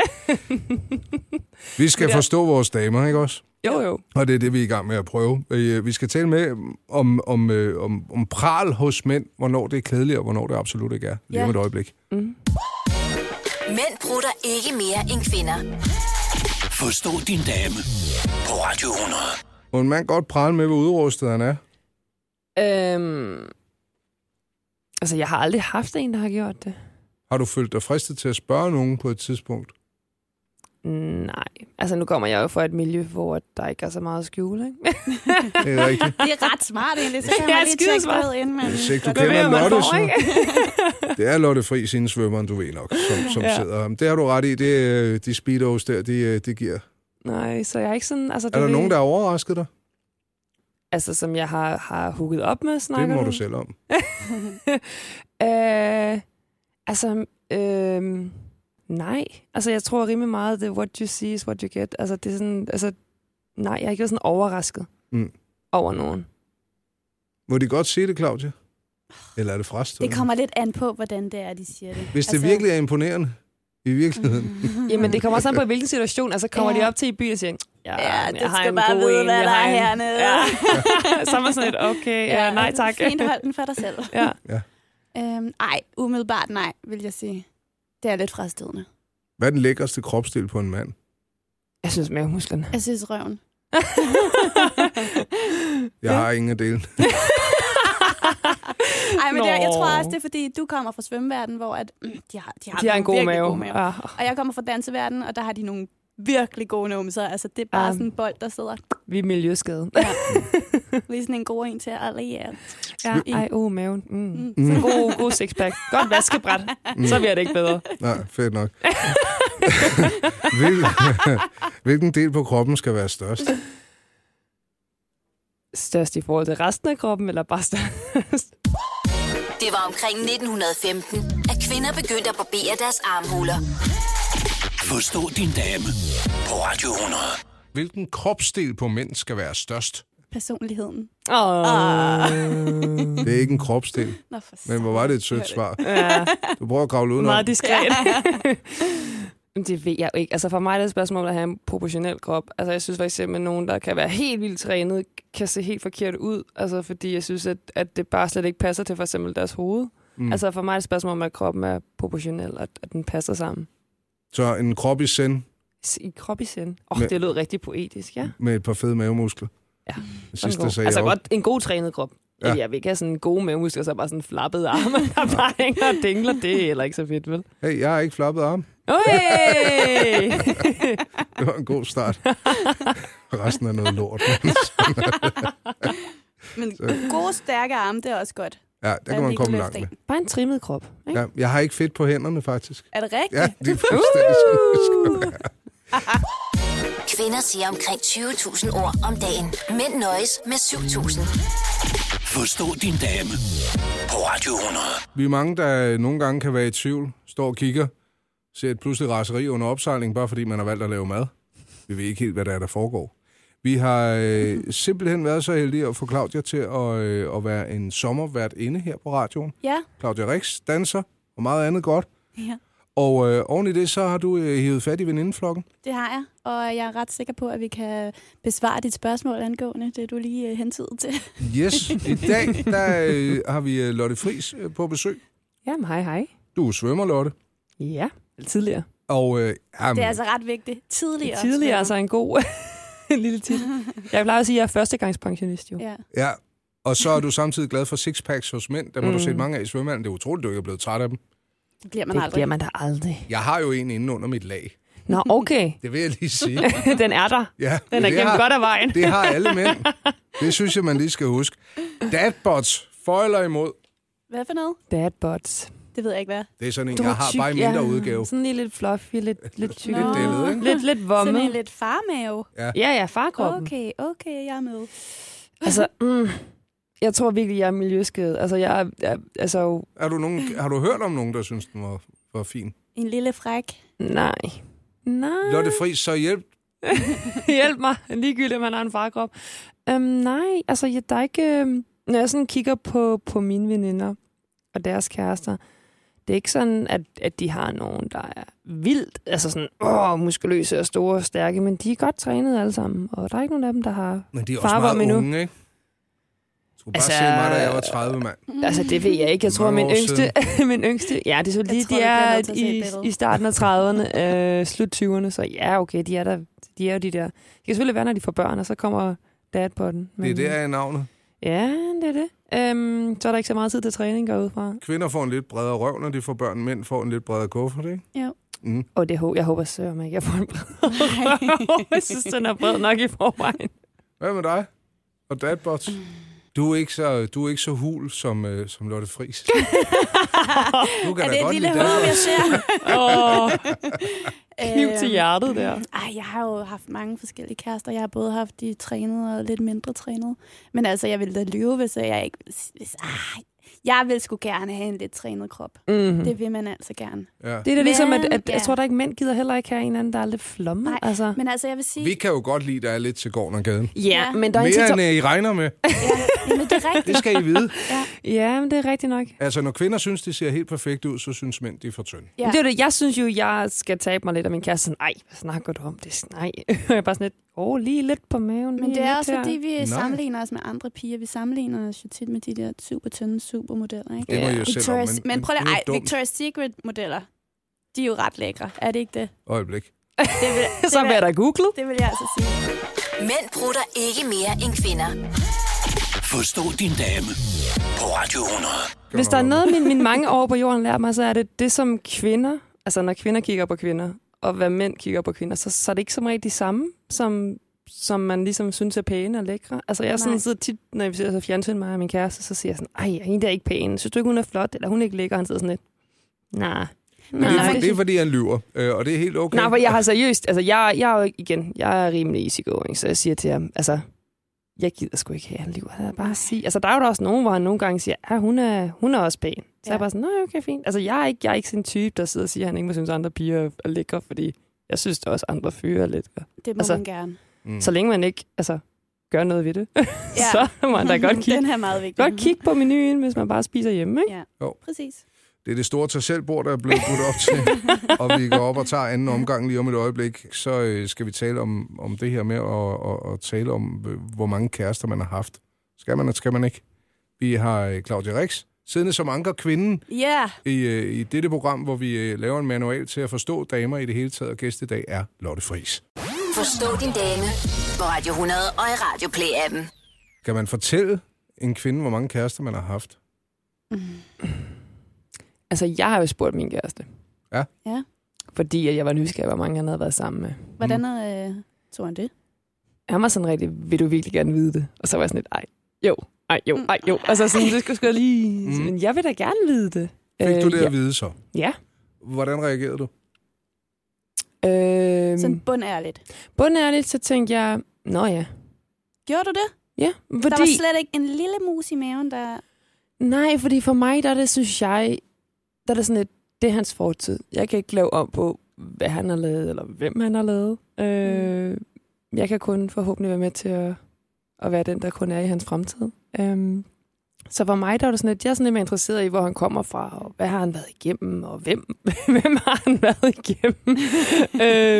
[SPEAKER 3] Vi skal forstå vores damer, ikke også?
[SPEAKER 5] Jo, jo.
[SPEAKER 3] Og det er det, vi er i gang med at prøve. Øh, Vi skal tale med om, om, øh, om, om pral hos mænd, hvornår det er kedeligt, og hvornår det absolut ikke er. Lige om
[SPEAKER 4] Ja.
[SPEAKER 3] et øjeblik.
[SPEAKER 1] Mænd prutter ikke mere end kvinder.
[SPEAKER 2] Forstå din dame på Radio 100.
[SPEAKER 3] Må en mand godt prale med, hvor udrustet han er?
[SPEAKER 5] Øhm, altså, jeg har aldrig haft en, der har gjort det.
[SPEAKER 3] Har du følt dig fristet til at spørge nogen på et tidspunkt?
[SPEAKER 5] Nej. Altså, nu kommer jeg jo fra et miljø, hvor der ikke er så meget at skjule, ikke?
[SPEAKER 3] Det er rigtigt.
[SPEAKER 4] *laughs* Det er ret smart egentlig, så kan
[SPEAKER 5] Ja,
[SPEAKER 4] man lige tjekke
[SPEAKER 5] skidesmart.
[SPEAKER 4] det ud, inden man...
[SPEAKER 3] Hvis ikke du
[SPEAKER 4] Godt.
[SPEAKER 5] Hvad
[SPEAKER 3] kender
[SPEAKER 5] ved man
[SPEAKER 3] Lotte,
[SPEAKER 5] får,
[SPEAKER 3] så-
[SPEAKER 5] ikke? *laughs*
[SPEAKER 3] Det er Lotte Friis inden svømmeren, du ved nok, som, som ja.
[SPEAKER 5] Ja.
[SPEAKER 3] sidder. Det har du ret i. Det, øh, de speedos der, de, øh, de giver.
[SPEAKER 5] Nej, så jeg er ikke sådan... Altså,
[SPEAKER 3] Er der nogen, der har overrasket dig?
[SPEAKER 5] Altså, som jeg har, har hooket op med, snakker
[SPEAKER 3] Det må du
[SPEAKER 5] se.
[SPEAKER 3] selv om.
[SPEAKER 5] Øh, altså, øh, nej. Altså, jeg tror rimelig meget, det er what you see is what you get. Altså, det er sådan... Altså, nej, jeg er ikke været sådan overrasket
[SPEAKER 3] Mm.
[SPEAKER 5] over nogen.
[SPEAKER 3] Må de godt sige det, Claudia? Eller er det frastået?
[SPEAKER 4] Det kommer lidt an på, hvordan det er, de siger det. Altså, Mm.
[SPEAKER 3] Hvis det
[SPEAKER 5] altså-
[SPEAKER 3] virkelig er imponerende, i
[SPEAKER 4] *laughs*
[SPEAKER 5] Mm.
[SPEAKER 3] virkeligheden.
[SPEAKER 5] Jamen, det kommer også an på, hvilken situation. Altså, kommer
[SPEAKER 4] Ja.
[SPEAKER 5] ja. de op til i byen og siger, ja,
[SPEAKER 4] Ja, du
[SPEAKER 5] jeg har
[SPEAKER 4] skal
[SPEAKER 5] en
[SPEAKER 4] bare
[SPEAKER 5] god
[SPEAKER 4] vide,
[SPEAKER 5] en,
[SPEAKER 4] hvad
[SPEAKER 5] jeg
[SPEAKER 4] der
[SPEAKER 5] har
[SPEAKER 4] er
[SPEAKER 5] en-
[SPEAKER 4] hernede.
[SPEAKER 5] Ja.
[SPEAKER 4] *laughs*
[SPEAKER 5] så er man sådan lidt, okay, ja, nej tak.
[SPEAKER 4] Fint, hold den for dig selv.
[SPEAKER 5] *laughs* ja.
[SPEAKER 4] *laughs* Øhm, ej, umiddelbart nej, vil jeg sige. Det er lidt frastødende.
[SPEAKER 3] Hvad er den lækreste kropsdel på en mand?
[SPEAKER 5] Jeg synes, *laughs* mavemusklerne.
[SPEAKER 4] Jeg synes røven.
[SPEAKER 3] Jeg har ingen af delen.
[SPEAKER 4] *laughs* Ej, men det, er- jeg
[SPEAKER 5] Nå.
[SPEAKER 4] tror også, det er fordi, du kommer fra svømmeverdenen, hvor at, mm, de, har, de, har
[SPEAKER 5] De har en god
[SPEAKER 4] virkelig
[SPEAKER 5] mave. Ah,
[SPEAKER 4] god mave.
[SPEAKER 5] Ja.
[SPEAKER 4] Og jeg kommer fra danseverdenen, og der har de nogle virkelig gode numser. Altså, det er bare
[SPEAKER 5] Ja.
[SPEAKER 4] sådan en bold, der sidder
[SPEAKER 5] Vi er miljøskade.
[SPEAKER 4] ja. *laughs* lige sådan en god en til at alliere.
[SPEAKER 5] Ja. Ej, uh, maven. Mm.
[SPEAKER 4] Mm.
[SPEAKER 5] Mm. Så god, god sixpack. Godt vaskebræt. Mm. Så bliver det ikke bedre.
[SPEAKER 3] Nej, fedt nok. *laughs* Hvil, *laughs* hvilken del på kroppen skal være størst?
[SPEAKER 5] Størst i forhold til resten af kroppen, eller bare størst?
[SPEAKER 1] Det var omkring 1915, at kvinder begyndte at barbere deres armhuler.
[SPEAKER 2] Forstå din dame på Radio 100.
[SPEAKER 3] Hvilken kropsdel på mænd skal være størst?
[SPEAKER 4] *laughs* Personligheden.
[SPEAKER 5] Åh.
[SPEAKER 4] Ah.
[SPEAKER 3] Mm. Det er ikke en kropsdel,
[SPEAKER 4] Nå, for
[SPEAKER 3] men hvor var det et sødt svar.
[SPEAKER 5] Ja,
[SPEAKER 3] Du prøver at kravle udenom.
[SPEAKER 5] meget diskret. *laughs* Men det ved jeg jo ikke. Altså for mig er det et spørgsmål om at have en proportionel krop. Altså jeg synes for eksempel, at nogen, der kan være helt vildt trænet, kan se helt forkert ud. Altså fordi jeg synes, at, at det bare slet ikke passer til for eksempel deres hoved. Mm. Altså for mig er det et spørgsmål om, at kroppen er proportionel, og at, at den passer sammen.
[SPEAKER 3] Så en krop i send
[SPEAKER 5] S- I krop i sind. Åh,
[SPEAKER 3] Men-
[SPEAKER 5] oh, det lød rigtig poetisk, ja.
[SPEAKER 3] med et par fede mavemuskler.
[SPEAKER 5] Ja.
[SPEAKER 3] Det
[SPEAKER 5] Sådan
[SPEAKER 3] sidste
[SPEAKER 5] god.
[SPEAKER 3] sagde
[SPEAKER 5] altså
[SPEAKER 3] jeg også.
[SPEAKER 5] godt en god trænet krop.
[SPEAKER 3] Ja.
[SPEAKER 5] Ja. Jeg vil ikke have sådan gode mavemuskler, så bare sådan flappede arme, *laughs* der bare hænger og dingler. Det er heller ikke så
[SPEAKER 3] *laughs*
[SPEAKER 5] fedt, vel?
[SPEAKER 3] Hey, jeg har ikke flappet arm.
[SPEAKER 5] Hey!
[SPEAKER 3] Det var en god start. Resten er noget lort. *laughs* men
[SPEAKER 4] Men gode, stærke arme, det er også godt.
[SPEAKER 3] Ja, der kan
[SPEAKER 4] At
[SPEAKER 3] man
[SPEAKER 4] vi kan
[SPEAKER 3] komme
[SPEAKER 4] løfte
[SPEAKER 3] langt med.
[SPEAKER 4] en.
[SPEAKER 5] bare en trimmet krop. Ikke?
[SPEAKER 3] Ja, jeg har ikke fedt på hænderne, faktisk.
[SPEAKER 4] Er det rigtigt?
[SPEAKER 3] Ja, det er fuldstændig sådan, det skal være.
[SPEAKER 1] Kvinder siger omkring 20.000 ord om dagen. Mænd nøjes med 7.000.
[SPEAKER 2] Forstå din dame på Radio 100.
[SPEAKER 3] Vi er mange, der øh, nogle gange kan være i tvivl, står og kigger, ser et pludselig raseri under opsejling, bare fordi man har valgt at lave mad. Vi ved ikke helt, hvad der er, der foregår. Vi har øh, simpelthen været så heldige at få Claudia til at, øh, at være en sommervært inde her på radioen.
[SPEAKER 4] Ja.
[SPEAKER 3] Claudia Rix, danser og meget andet godt.
[SPEAKER 4] ja.
[SPEAKER 3] Og øh, oven i det, så har du øh, hivet fat i venindeflokken.
[SPEAKER 4] Det har jeg, og jeg er ret sikker på, at vi kan besvare dit spørgsmål angående det, du lige øh, hentede til.
[SPEAKER 3] Yes, i dag der, øh, har vi øh, Lotte Fris øh, på besøg.
[SPEAKER 5] Jamen, hej, hej.
[SPEAKER 3] Du er svømmer, Lotte.
[SPEAKER 5] Ja, eller tidligere.
[SPEAKER 3] Og øh, jamen,
[SPEAKER 4] Det er altså ret vigtigt. Tidligere.
[SPEAKER 5] Tidligere er altså en god *laughs* en lille titel. Jeg plejer at sige, at jeg er førstegangspensionist jo.
[SPEAKER 4] Ja.
[SPEAKER 3] ja. Og så er du samtidig glad for sixpacks hos mænd. Der må mm. du
[SPEAKER 5] Mm.
[SPEAKER 3] se mange af i svømmehallen. Det er utroligt, du ikke er blevet træt af dem.
[SPEAKER 4] Det bliver man aldrig. Bliver man.
[SPEAKER 5] da aldrig.
[SPEAKER 3] Jeg har jo en inde under mit lag.
[SPEAKER 5] Nå, okay.
[SPEAKER 3] Det vil jeg lige sige.
[SPEAKER 5] Den er der.
[SPEAKER 3] Ja,
[SPEAKER 5] Den er
[SPEAKER 3] det
[SPEAKER 5] gennem
[SPEAKER 3] har-
[SPEAKER 5] godt af vejen.
[SPEAKER 3] Det har alle mænd. Det synes jeg, man lige skal huske. Datbots foiler imod.
[SPEAKER 4] Hvad for noget?
[SPEAKER 5] Dadbots.
[SPEAKER 4] Det ved jeg ikke, hvad. er.
[SPEAKER 3] Det er sådan en, jeg har bare i mindre ja. udgave.
[SPEAKER 5] Sådan lige lidt fluffy, lidt, lidt tyk.
[SPEAKER 3] Lidt
[SPEAKER 4] Nå.
[SPEAKER 3] dællet, ikke?
[SPEAKER 5] Lidt, lidt
[SPEAKER 4] Sådan en
[SPEAKER 5] vommet.
[SPEAKER 4] lidt farmave.
[SPEAKER 5] Ja, ja, farkroppen.
[SPEAKER 4] Okay, okay, jeg er med.
[SPEAKER 5] Altså, mm, jeg tror virkelig, jeg er miljøskadet. Altså, jeg er, jeg, altså, jo,
[SPEAKER 3] Er du nogen, har du hørt om nogen, der synes, den var, var fin?
[SPEAKER 4] En lille
[SPEAKER 5] *laughs*
[SPEAKER 4] fræk.
[SPEAKER 5] nej. Nej.
[SPEAKER 3] Lotte Friis, så hjælp.
[SPEAKER 5] *laughs* Hjælp mig. Ligegyldigt, om man har en farkrop. Øhm, nej, altså, jeg, der er ikke... øhm, Når jeg sådan kigger på, på mine veninder og deres kærester, det er ikke sådan, at, at de har nogen, der er vildt, altså sådan, åh, muskuløse og store og stærke, men de er godt trænet alle sammen, og der er ikke nogen af dem, der har
[SPEAKER 3] Men de er også
[SPEAKER 5] Far, hvor er
[SPEAKER 3] meget
[SPEAKER 5] vi nu?
[SPEAKER 3] unge, ikke? Du skulle bare
[SPEAKER 5] Altså,
[SPEAKER 3] altså, se mig, da jeg var 30, mand.
[SPEAKER 4] Mm.
[SPEAKER 5] Altså, det ved jeg ikke. Jeg tror,
[SPEAKER 3] Mange
[SPEAKER 5] min
[SPEAKER 3] år
[SPEAKER 5] yngste, *laughs* min yngste... Ja, det er så lige,
[SPEAKER 4] tror, vi
[SPEAKER 5] de
[SPEAKER 4] bliver nødt til
[SPEAKER 5] er
[SPEAKER 4] at se et
[SPEAKER 5] i,
[SPEAKER 4] billede.
[SPEAKER 5] i starten af 30'erne,
[SPEAKER 4] *laughs*
[SPEAKER 5] øh, slut 20'erne, så ja, okay, de er der. De er jo de der. Det kan selvfølgelig være, når de får børn, og så kommer dad på den.
[SPEAKER 3] Det er
[SPEAKER 4] Mhm.
[SPEAKER 3] der, jeg er navnet.
[SPEAKER 5] Ja, det er det. Øhm, så er der ikke så meget tid til træning, går jeg ud fra.
[SPEAKER 3] Kvinder får en lidt bredere røv, når de får børn. Mænd får en lidt bredere kuffert, ikke?
[SPEAKER 4] Jo.
[SPEAKER 3] Mm.
[SPEAKER 5] Og det, hå- jeg håber så, om ikke jeg får en
[SPEAKER 4] *laughs*
[SPEAKER 5] bred røv. Jeg synes, den er bred nok i forvejen.
[SPEAKER 3] Hvad med dig? Og datbots?
[SPEAKER 4] Mm.
[SPEAKER 3] Du er ikke så, du er ikke så hul som, øh, som Lotte
[SPEAKER 4] *laughs*
[SPEAKER 3] Friis. du kan
[SPEAKER 4] er
[SPEAKER 3] da
[SPEAKER 4] det et
[SPEAKER 3] godt
[SPEAKER 4] lille
[SPEAKER 3] lide
[SPEAKER 4] håb,
[SPEAKER 3] datbots.
[SPEAKER 4] jeg ser?
[SPEAKER 5] Åh, *laughs* kniv til
[SPEAKER 4] Øhm,
[SPEAKER 5] hjertet der.
[SPEAKER 4] Ej, jeg har jo haft mange forskellige kærester. Jeg har både haft de trænede og lidt mindre trænede. Men altså, jeg ville da lyve, hvis jeg ikke... Hvis, hvis, ej, jeg vil sgu gerne have en lidt trænet krop. Mm.
[SPEAKER 5] Mm-hmm.
[SPEAKER 4] Det vil man altså gerne.
[SPEAKER 3] Ja.
[SPEAKER 5] Det er da ligesom, at, at
[SPEAKER 4] Men,
[SPEAKER 5] jeg
[SPEAKER 4] ja.
[SPEAKER 5] tror, der ikke mænd gider heller ikke have en eller anden, der er lidt flomme.
[SPEAKER 4] Nej,
[SPEAKER 5] altså.
[SPEAKER 4] Men altså, jeg vil sige...
[SPEAKER 3] Vi kan jo godt lide, der er lidt til gården og gaden.
[SPEAKER 5] Ja, men der er en
[SPEAKER 3] Mere
[SPEAKER 5] TikTok.
[SPEAKER 3] end øh, I regner
[SPEAKER 4] *laughs*
[SPEAKER 3] med.
[SPEAKER 4] Jamen, det er
[SPEAKER 3] Det *laughs*
[SPEAKER 4] rigtigt.
[SPEAKER 3] skal I vide.
[SPEAKER 5] Ja, men det er rigtigt nok.
[SPEAKER 3] Altså, når kvinder synes, de ser helt perfekt ud, så synes mænd, de er for tynde.
[SPEAKER 5] Ja. Det er jo det, jeg synes jo, jeg skal tabe mig lidt, og min kæreste er sådan, nej, hvad snakker du om? Det er sådan, nej. Og *laughs* jeg er bare sådan lidt, åh, oh, lige lidt på maven.
[SPEAKER 4] Men
[SPEAKER 5] lige
[SPEAKER 4] det er
[SPEAKER 5] lidt
[SPEAKER 4] også,
[SPEAKER 5] her."
[SPEAKER 4] fordi vi
[SPEAKER 3] Nej.
[SPEAKER 4] sammenligner os med andre piger. Vi sammenligner os jo tit med de der super tynde supermodeller, ikke?
[SPEAKER 3] Det må
[SPEAKER 5] Ja.
[SPEAKER 3] I jo selv om,
[SPEAKER 4] Victoria's, men, men prøv lige,
[SPEAKER 3] det er
[SPEAKER 4] ej,
[SPEAKER 3] dumt.
[SPEAKER 4] Victoria's Secret-modeller, de er jo ret lækre. Er det ikke det?
[SPEAKER 3] Øjeblik.
[SPEAKER 4] Det
[SPEAKER 3] *laughs*
[SPEAKER 4] vil, det
[SPEAKER 5] Så
[SPEAKER 4] vil,
[SPEAKER 5] bliver jeg da googlet.
[SPEAKER 4] det vil jeg altså sige.
[SPEAKER 1] Mænd bruger ikke mere end kvinder.
[SPEAKER 2] Forstå din dame på Radio 100.
[SPEAKER 5] Hvis der er noget, min, min mange år på jorden lærer mig, så er det det, som kvinder, altså når kvinder kigger på kvinder, og hvad mænd kigger på kvinder, så, så er det ikke som regel de samme, som, som man ligesom synes er pæne og lækre. Altså jeg er sådan
[SPEAKER 4] Nej.
[SPEAKER 5] sidder tit, når vi ser så fjernsyn mig og min kæreste, så siger jeg sådan, ej, hende der er ikke pæn. Synes du ikke, hun er flot, eller hun er ikke lækker? Og Han sidder sådan lidt, nej.
[SPEAKER 3] Men det, er,
[SPEAKER 5] nej."
[SPEAKER 3] for- det er, fordi han lyver, øh, og det er helt okay.
[SPEAKER 5] Nej, for jeg har seriøst, altså jeg, jeg er jo ikke, igen, jeg er rimelig easygoing, så jeg siger til ham, altså, jeg gider sgu ikke have, han lyver, han bare sige. Altså, der er jo da også nogen, hvor han nogle gange siger, ja, hun er, hun er også pæn. Så ja. jeg er
[SPEAKER 4] Ja.
[SPEAKER 5] bare sådan, nej, okay, fint. Altså, jeg er ikke, jeg er ikke sådan en type, der sidder og siger, at han ikke må synes, at andre piger er- er lækre, fordi jeg synes da også, at andre fyre er lækre.
[SPEAKER 4] Det må
[SPEAKER 5] Altså,
[SPEAKER 4] altså, man gerne.
[SPEAKER 3] Mm.
[SPEAKER 5] Mm. Så længe man ikke, altså, gør noget ved det,
[SPEAKER 4] Ja.
[SPEAKER 5] *laughs* så må
[SPEAKER 4] *laughs*
[SPEAKER 5] man da godt
[SPEAKER 4] Den
[SPEAKER 5] kigge,
[SPEAKER 4] her er meget vigtig.
[SPEAKER 5] godt kigge på menuen, hvis man bare spiser hjemme, ikke?
[SPEAKER 4] Ja,
[SPEAKER 3] Jo.
[SPEAKER 4] præcis.
[SPEAKER 3] Det er det store tag selv der er blevet budt op *laughs* til, og vi går op og tager anden omgang lige om et øjeblik. Så øh, skal vi tale om, om det her med at og, og tale om, øh, hvor mange kærester man har haft. Skal man, eller skal man ikke? Vi har øh, Claudia Rix, siddende som anker kvinden
[SPEAKER 4] Ja,
[SPEAKER 3] i, øh, i dette program, hvor vi øh, laver en manual til at forstå damer i det hele taget, og gæst i dag er Lotte Friis.
[SPEAKER 1] Forstå din dame på Radio 100 og i Radio Play-appen.
[SPEAKER 3] Kan man fortælle en kvinde, hvor mange kærester man har haft?
[SPEAKER 5] *laughs* Altså, jeg har jo spurgt min kæreste.
[SPEAKER 3] Ja.
[SPEAKER 4] Ja.
[SPEAKER 5] Fordi at jeg var nysgerrig, hvor mange han havde været sammen med.
[SPEAKER 4] hvordan øh, tog han det?
[SPEAKER 5] han var sådan rigtig, vil du virkelig gerne vide det? Og så var jeg sådan lidt, ej, jo, ej, jo, ej, jo. Altså sådan, det skulle sgu lige...
[SPEAKER 3] Mm.
[SPEAKER 5] Men jeg vil da gerne vide det. Øh,
[SPEAKER 3] Fik du det
[SPEAKER 5] ja.
[SPEAKER 3] at vide så?
[SPEAKER 5] Ja.
[SPEAKER 3] Hvordan reagerede du?
[SPEAKER 5] Øh,
[SPEAKER 4] Sådan bundærligt.
[SPEAKER 5] bundærligt, så tænkte jeg, nå ja.
[SPEAKER 4] Gjorde du det?
[SPEAKER 5] Ja,
[SPEAKER 4] Fordi... Der var
[SPEAKER 5] fordi...
[SPEAKER 4] slet ikke en lille mus i maven, der...
[SPEAKER 5] Nej, fordi for mig, der er det, synes jeg, der er det sådan lidt, det er hans fortid. Jeg kan ikke lave om på, hvad han har lavet, eller hvem han har lavet. Øh, jeg kan kun forhåbentlig være med til at, at være den, der kun er i hans fremtid. Øhm, Så for mig, der var det sådan lidt, jeg er sådan lidt mere interesseret i, hvor han kommer fra, og hvad har han været igennem, og hvem, *laughs* hvem har han været igennem.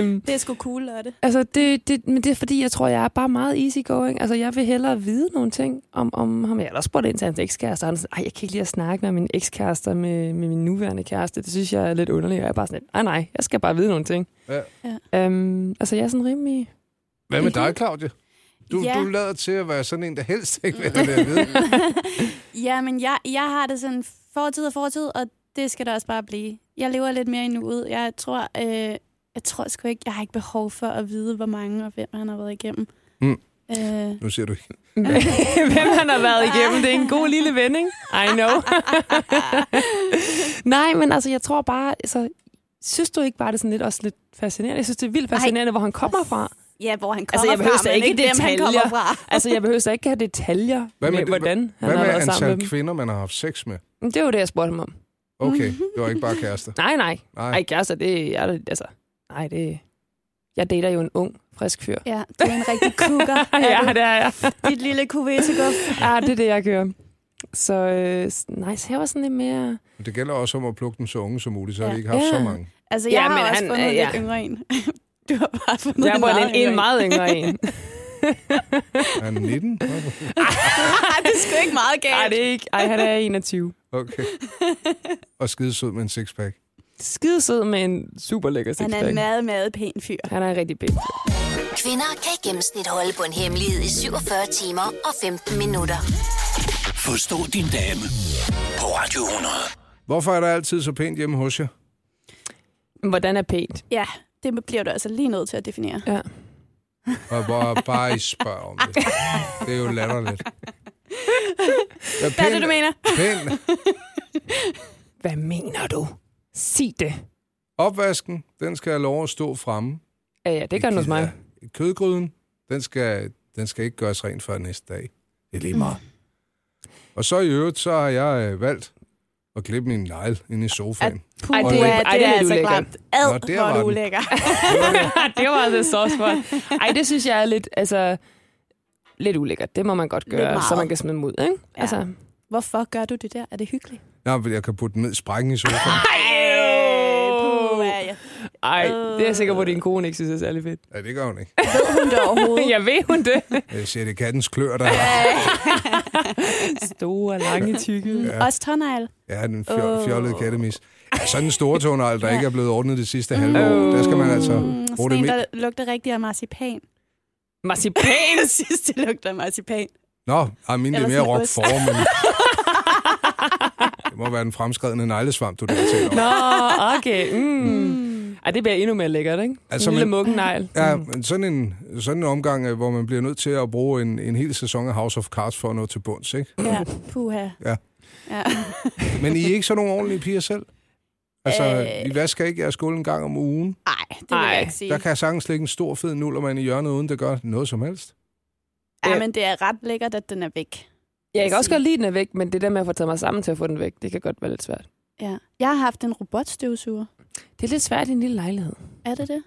[SPEAKER 5] øhm,
[SPEAKER 4] Det er sgu cool,
[SPEAKER 5] *laughs*
[SPEAKER 4] Lotte.
[SPEAKER 5] Altså, det, det, men det er fordi, jeg tror, jeg er bare meget easygoing. Altså, jeg vil hellere vide nogle ting om, om ham. Jeg har også spurgt ind til hans ekskæreste, og han er sådan, "Ej, jeg kan ikke lide at snakke med min ekskæreste og med, med min nuværende kæreste. Det synes jeg er lidt underligt. Og jeg er bare sådan lidt, nej, nej, jeg skal bare vide nogle ting.
[SPEAKER 3] Ja.
[SPEAKER 5] Ja. Øhm, altså, jeg er sådan rimelig...
[SPEAKER 3] Hvad med dig, Claudia? Du,
[SPEAKER 4] Ja.
[SPEAKER 3] ja. du lader til at være sådan en, der helst ikke vil have det at vide.
[SPEAKER 4] ja, men jeg, jeg har det sådan fortid og fortid, og det skal der også bare blive. Jeg lever lidt mere i nuet. Jeg tror, øh, jeg tror sgu ikke, jeg har ikke behov for at vide, hvor mange og hvem han har været igennem.
[SPEAKER 3] Mm.
[SPEAKER 4] Øh,
[SPEAKER 3] Nu siger du ikke.
[SPEAKER 5] *laughs* Hvem han har været igennem, det er en god lille vending. I *laughs* know. Nej, men altså, jeg tror bare... Altså, synes du ikke bare, det er sådan lidt, også lidt fascinerende? Jeg synes, det er vildt fascinerende, Ej, hvor han kommer fra.
[SPEAKER 4] ja, hvor han kommer
[SPEAKER 5] Altså, jeg behøver
[SPEAKER 4] fra,
[SPEAKER 5] slet
[SPEAKER 4] men
[SPEAKER 5] ikke
[SPEAKER 4] ikke hvem han
[SPEAKER 5] detaljer.
[SPEAKER 4] kommer fra.
[SPEAKER 5] Altså, jeg behøver så ikke have detaljer
[SPEAKER 3] Hvad med
[SPEAKER 5] med, med
[SPEAKER 3] det-
[SPEAKER 5] hvordan han
[SPEAKER 3] Hvad
[SPEAKER 5] har
[SPEAKER 3] med
[SPEAKER 5] været sammen med
[SPEAKER 3] antal
[SPEAKER 5] dem.
[SPEAKER 3] kvinder, man har haft sex med?
[SPEAKER 5] Men Det var det, jeg spurgte ham om.
[SPEAKER 3] Okay, det var ikke bare kærester.
[SPEAKER 5] Nej, nej.
[SPEAKER 3] Nej.
[SPEAKER 5] Nej, kærester, det er... Altså, nej, det... Jeg dater jo en ung, frisk fyr.
[SPEAKER 4] Ja, du er en rigtig kukker.
[SPEAKER 5] *laughs* ja, det er jeg.
[SPEAKER 4] Dit lille kuvetekuff.
[SPEAKER 5] Ja, det er det, jeg kører. Så øh, s- nej, så jeg var sådan lidt mere...
[SPEAKER 3] Men det gælder også om at plukke dem så unge som muligt, så har
[SPEAKER 4] Ja.
[SPEAKER 3] vi ikke haft
[SPEAKER 5] Ja.
[SPEAKER 3] så mange.
[SPEAKER 4] Altså, jeg
[SPEAKER 5] Ja,
[SPEAKER 4] ja, har
[SPEAKER 5] men
[SPEAKER 4] også
[SPEAKER 5] han-
[SPEAKER 4] han, fundet
[SPEAKER 5] øh,
[SPEAKER 4] ja.
[SPEAKER 5] ja.
[SPEAKER 4] lidt yngre en. *laughs* Du har bare fundet
[SPEAKER 5] Jeg var en,
[SPEAKER 4] yngre
[SPEAKER 5] en meget yngre *laughs* en.
[SPEAKER 3] Er han 19?
[SPEAKER 4] Ah, det er sgu ikke meget galt.
[SPEAKER 5] Nej, det er ikke. Ej, han er 21.
[SPEAKER 3] *laughs* Okay. Og skide sød med en sixpack.
[SPEAKER 5] Skidesød med en super lækker
[SPEAKER 4] Han
[SPEAKER 5] sixpack.
[SPEAKER 4] er en meget, meget pæn fyr.
[SPEAKER 5] han er en rigtig pæn. fyr.
[SPEAKER 1] Kvinder kan i gennemsnit holde på en hemmelighed i 47 timer og 15 minutter.
[SPEAKER 2] Forstå din dame på Radio 100.
[SPEAKER 3] Hvorfor er der altid så pænt hjemme hos jer?
[SPEAKER 5] Men Hvordan er pænt?
[SPEAKER 4] Ja, det bliver du altså lige nødt til at definere.
[SPEAKER 5] Ja.
[SPEAKER 3] Og hvor bare I spørger om det. Det er jo latterligt. Hvad
[SPEAKER 4] Hvad er det, du mener?
[SPEAKER 3] Pænt.
[SPEAKER 5] Hvad mener du? Sig det.
[SPEAKER 3] Opvasken, den skal have lov at stå fremme.
[SPEAKER 5] Ja, ja, det gør den hos mig.
[SPEAKER 3] Ja. Kødgryden, den skal, den skal ikke gøres ren før næste dag. Det er lige meget. Og så i øvrigt, så har jeg øh, valgt at klippe min negl ind i sofaen.
[SPEAKER 4] Puh,
[SPEAKER 5] Ej,
[SPEAKER 4] Ej,
[SPEAKER 5] det
[SPEAKER 4] det,
[SPEAKER 5] er-
[SPEAKER 4] er, det, er,
[SPEAKER 5] ej, det er lidt
[SPEAKER 4] altså
[SPEAKER 5] ulækkert.
[SPEAKER 4] klamt. Ad,
[SPEAKER 3] Nå, der
[SPEAKER 4] hvor er
[SPEAKER 3] var
[SPEAKER 4] du
[SPEAKER 3] den.
[SPEAKER 4] ulækker.
[SPEAKER 5] *laughs* det var altså så smart. Ej, det synes jeg er lidt, altså, lidt ulækkert. Det må man godt
[SPEAKER 4] Lidt
[SPEAKER 5] gøre, så
[SPEAKER 4] meget.
[SPEAKER 5] man kan smide dem ud, ikke?
[SPEAKER 4] Ja.
[SPEAKER 5] Altså,
[SPEAKER 4] Hvorfor gør du det der? Er det hyggeligt?
[SPEAKER 3] Nå, men jeg kan putte den ned i sprækken i
[SPEAKER 5] Ah.
[SPEAKER 3] sofaen.
[SPEAKER 4] Puh, ja, ja.
[SPEAKER 5] Ej, det er jeg sikker på, at din kone ikke synes er særlig fedt. *laughs*
[SPEAKER 3] Ja, det gør hun ikke.
[SPEAKER 4] Ved hun det overhovedet?
[SPEAKER 5] Jeg ved hun det.
[SPEAKER 3] Jeg siger, det er kattens klør, der er.
[SPEAKER 5] Store, lange, tykke.
[SPEAKER 4] ja. Også tårnegl.
[SPEAKER 3] Ja, den fjol, fjollede kattemis. Ja, sådan en store tonal, der ikke er blevet ordnet det sidste halve
[SPEAKER 5] Åh.
[SPEAKER 3] år. Der skal man altså
[SPEAKER 4] Mm,
[SPEAKER 3] bruge
[SPEAKER 4] sådan
[SPEAKER 3] det
[SPEAKER 4] en,
[SPEAKER 3] med.
[SPEAKER 4] der lugter rigtig af marcipan. *laughs*
[SPEAKER 5] Marcipan!
[SPEAKER 4] Jeg synes, det lugter af marcipan.
[SPEAKER 3] Nå, ej, mine det er
[SPEAKER 4] Eller
[SPEAKER 3] mere
[SPEAKER 4] sådan en
[SPEAKER 3] rock
[SPEAKER 4] ost.
[SPEAKER 3] for, men... Det må være den fremskredende neglesvamp, du der taler om.
[SPEAKER 5] Nå, okay. Mm. Ej, det bliver endnu mere lækkert, ikke? Altså,
[SPEAKER 3] Altså,
[SPEAKER 5] en lille
[SPEAKER 3] men-
[SPEAKER 5] mukkenegl.
[SPEAKER 3] Ja, men sådan en, sådan en omgang, øh, hvor man bliver nødt til at bruge en, en hel sæson af House of Cards for at nå til bunds, ikke?
[SPEAKER 4] Ja, puha.
[SPEAKER 3] Ja.
[SPEAKER 4] ja.
[SPEAKER 3] Men I er ikke sådan nogle ordentlige piger selv? Altså,
[SPEAKER 4] Øh.
[SPEAKER 3] I vasker ikke jeres gulv en gang om ugen.
[SPEAKER 4] Ej, det vil
[SPEAKER 5] Ej.
[SPEAKER 4] jeg ikke sige.
[SPEAKER 3] Der kan jeg sagtens ligge en stor, fed nullermand i hjørnet, uden det gør noget som helst.
[SPEAKER 4] Ja, men det er ret lækkert, at den er væk.
[SPEAKER 5] Jeg kan også godt lide, den er væk, men det der med at få taget mig sammen til at få den væk, det kan godt være lidt svært.
[SPEAKER 4] Ja. Jeg har haft en robotstøvsuger.
[SPEAKER 5] Det er lidt svært i en lille lejlighed.
[SPEAKER 4] Er det det?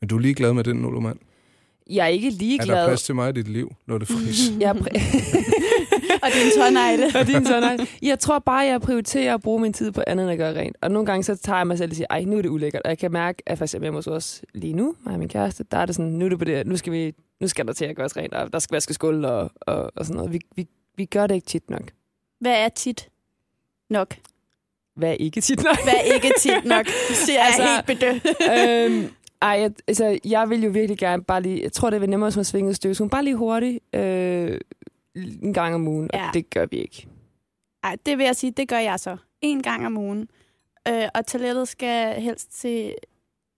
[SPEAKER 3] Men du er ligeglad med den nullermand.
[SPEAKER 5] Jeg er ikke
[SPEAKER 3] Er
[SPEAKER 5] ligeglad.
[SPEAKER 3] der plads til mig i dit liv, når det fris?
[SPEAKER 4] *laughs*
[SPEAKER 5] Jeg er *laughs* pri-
[SPEAKER 4] Og din tårnegle.
[SPEAKER 5] og din tårnegle. Jeg tror bare, jeg prioriterer at bruge min tid på andet end at gøre rent. Og nogle gange så tager jeg mig selv og siger, ej, nu er det ulækkert. Og jeg kan mærke, at for eksempel hjemme hos os lige nu, mig og min kæreste, der er det sådan, nu er det på det, nu skal, vi, nu skal der til at gøres rent, og der skal vaskes gulv og, og, og sådan noget. Vi, vi, vi gør det ikke tit nok.
[SPEAKER 4] Hvad er tit nok?
[SPEAKER 5] Hvad er ikke tit nok?
[SPEAKER 4] Hvad er ikke tit *laughs*
[SPEAKER 5] *laughs*
[SPEAKER 4] nok? Så jeg altså, Øh,
[SPEAKER 5] Altså,
[SPEAKER 4] er helt bedøvet.
[SPEAKER 5] øhm, ej, jeg, altså, jeg vil jo virkelig gerne bare lige... Jeg tror, det vil nemmere som at svinge støvsugen. Bare lige hurtigt øh, en gang om ugen, ja.
[SPEAKER 4] Ja.
[SPEAKER 5] og det gør vi ikke.
[SPEAKER 4] Ej, det vil jeg sige, det gør jeg så. En gang om ugen. Øh, og toilettet skal helst til...